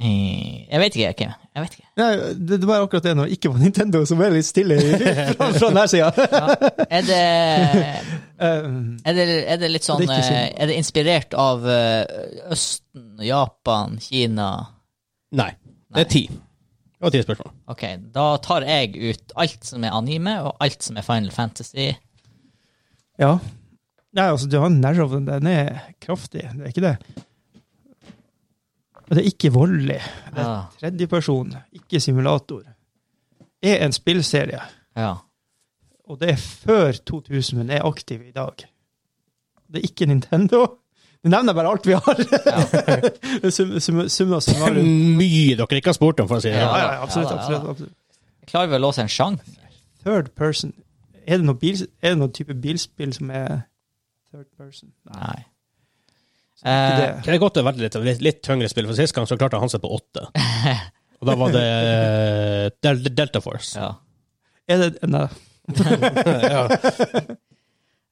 eh, jeg vet ikke, Kim. Jeg vet ikke.
Nei, det, det var akkurat det når ikke var Nintendo, som er litt stille i- fra, fra den her sida.
Er det
Um,
Er det, er det litt sånn
Det er ikke
eh,
synd.
Er det inspirert av eh, Østen, Japan, Kina?
Nei. Det er ti. Det var ti spørsmål.
Ok, da tar jeg ut alt som er anime, og alt som er Final Fantasy.
ja. Nei, altså, du har en nerve av den. Den er kraftig, det er ikke det. Og det er ikke voldelig.
Ja.
Tredjeperson, ikke simulator. Er en spillserie,
ja.
og det er før 2000, men er aktiv i dag. Det er ikke Nintendo. Du nevner bare alt vi har. Sum- sum- Summa summarum.
Mye dere ikke har spurt om, for å si det
Ja.
sånn.
Ja, ja,
Ja, da,
absolutt.
ja,
absolutt,
da.
absolutt.
Klarer vi å låse en sjanger?
Third person Er det noen, bil, er det noen type bilspill som er third person?
Nei. Eh,
Så det er ikke det.
Det er godt å være litt, litt, litt tyngre spill, for sist gang så klarte han seg på åtte. Og da var det eh, Del Delta Force.
Ja.
Er det eh, nei,
ja.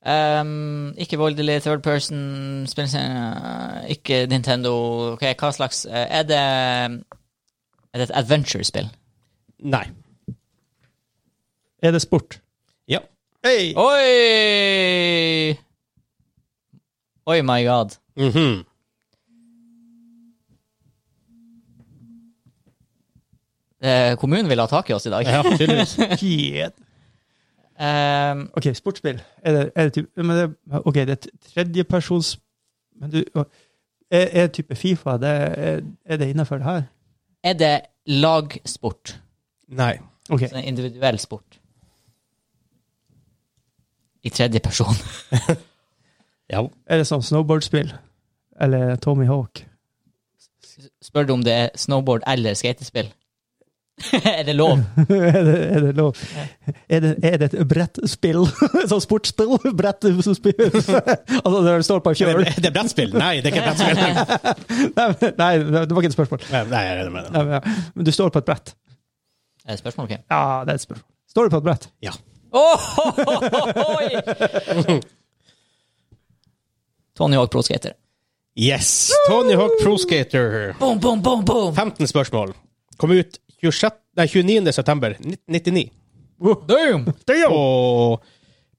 Ehm, ikke voldelig, third person, spillserie, eh, ikke Nintendo Ok, hva slags eh, Er det Er det et adventure-spill?
Nei.
Er det sport?
Ja.
Hey!
Oi! Oi, my god.
Mhm.
Eh, kommunen vil ha tak i oss i dag.
ja, tydeligvis.
shit.
Ehm,
OK, sportsspill. Er det, er det type men det, OK, det er tredjepersons Men du Er, er type Fifa det, er, er det innafor det her?
er det lagsport?
Nei.
OK.
Altså en individuell sport? I tredje person.
Ja.
Er det sånn snowboardspill? Eller Tommy Hawk?
Spør du om det er snowboard eller skatespill? er det lov?
er, det, er det lov? Er det, er det et brettspill? sånn sportsspill? Brettspill? altså, det står på en
Er
fjøl.
det- er det brettspill? Nei, det er ikke et brettspill.
Nei, men- nei, det var ikke et spørsmål.
Nei, Nei, jeg er enig med
Nei,
deg.
men, ja. men du står på et brett.
Er det spørsmål, Kim?
Ja, det er et spørsmål. Står du på et brett?
Ja.
Tony Hawk Pro Skater.
Yes! Tony Hawk Pro Skater.
Boom, boom, boom, boom!
15 spørsmål. Kom ut 26, nei, 29. september 1999.
Boom!
Og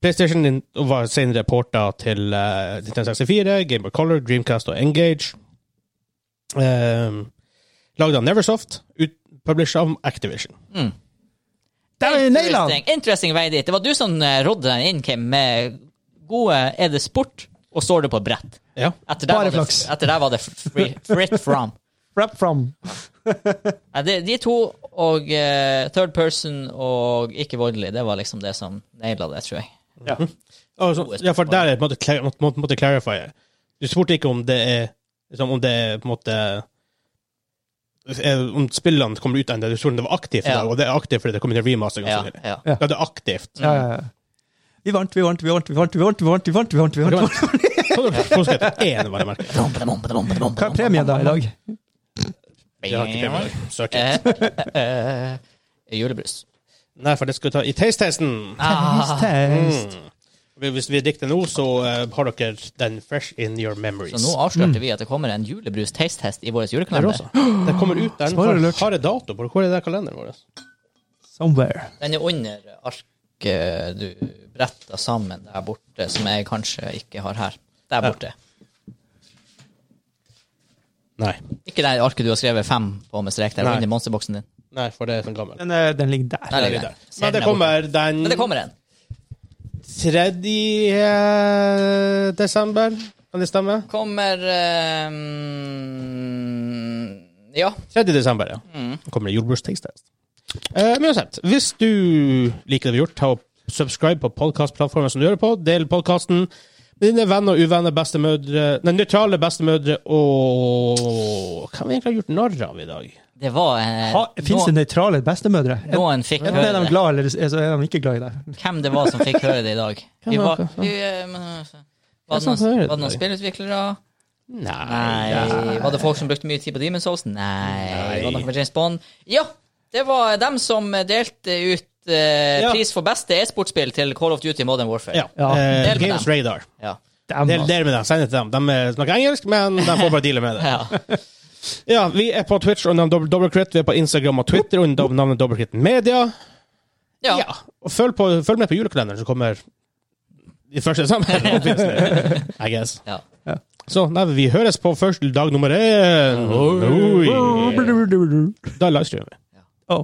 PlayStation din- var senere porta til eh, Nintendo 64, Game of Color, Dreamcast og Engage. Um, Lagd av Neversoft, ut- published av Activision.
Der er Neiland!
Interesting, interesting vei dit. Det var du som eh, rådde den inn, Kim, med gode Er det sport, og står du på brett?
Ja.
Etter der,
Bare
var det,
flaks.
etter der var det free, fritt from.
Wrap from.
Nei, De, de to og eh, third person og ikke voldelig, det var liksom det som naila det, tror jeg.
Ja.
Altså, ja, for der er det på en måte klar- må- må- måtte clarify. Du spurte ikke om det er liksom, om det er på en måte eh, Om spillene kommer ut av det. Du spurte om det var aktivt, i
Ja.
dag, og det er aktivt fordi det kommer til remaster.
Ja,
ganske ja.
ja.
ja, det er aktivt.
Ja, ja, ja. Vi vant, vi vant, vi vant, vi vant, vi vant, vi vant, vi vant, vi vant, vi vant.
Sånn er forskjellen. Én, bare merke.
Hva er premien da i dag?
Det har ikke premie. Søk.
Eh, eh, eh, Julebrus.
Nei, for det skal vi ta i taste-testen.
Ah,
Test.
Mm. Hvis vi dikter nå, så eh, har dere den fresh in your memories.
så nå avslørte vi at det kommer en julebrus-taste-test i vår julekalender.
Det kommer ut der.
Spoiler
Den
alert.
har en dato på det. Hvor er det i kalenderen vår?
Somewhere.
Den er under arket du bretta sammen der borte, som jeg kanskje ikke har her. Der borte.
Nei.
Ikke det arket du har skrevet fem på med strek der,
Nei.
under monsterboksen din.
Nei, for det er sånn gammel.
Den, eh, den ligger der.
Der
Det
ligger
er
den.
der. Men
Ser den
det
der
kommer
borte. Men det
den
kommer en.
3. desember. Kan det stemme?
Kommer eh, mm, Ja.
3. desember, ja.
Mm.
Kommer det jordbrukstaste. Eh, men uansett, hvis du liker det vi har gjort, ta og subscribe på podkastplattformen som du gjør det på. Del podkasten med dine venner og uvenner, bestemødre Nei, nøytrale bestemødre og Hva har vi egentlig gjort narr av i dag?
Det var eh,
Fins det
noen,
nøytrale bestemødre?
noen fikk
Enten er
høre
de
det.
glad, eller så er de ikke glad i deg.
Hvem det var som fikk høre det i dag?
Hvem
Vi
var
var,
det som-
vi, eh, men, altså, var
Hvem
det
som
noen,
hører det
var det
i
noen
dag?
spillutviklere?
Nei.
Nei. Var det folk som brukte mye tid på Demon's Souls? Nei.
Nei.
Var det noe for James Bond? Ja! Det var dem som delte ut eh,
Ja.
pris for beste e-sportspill til Call of Duty Modern Warfare.
Ja.
Ja.
Eh,
Del med
Games
dem.
Radar.
Ja.
Dem,
Del,
altså.
del med dem. Send det til dem. De eh, snakker engelsk, men de får bare deale med det.
Ja.
Ja, vi er på Twitch under navnet Dobbelkritt. Vi er på Instagram og Twitter under navnet Dobbelkritt Media.
Ja.
Ja, Og følg, på, følg med på julekalenderen som kommer i første desember. obviously. I guess.
Ja.
Så nei, vi høres på første dag nummer én. Oi. Da livestreamer vi.
Oh.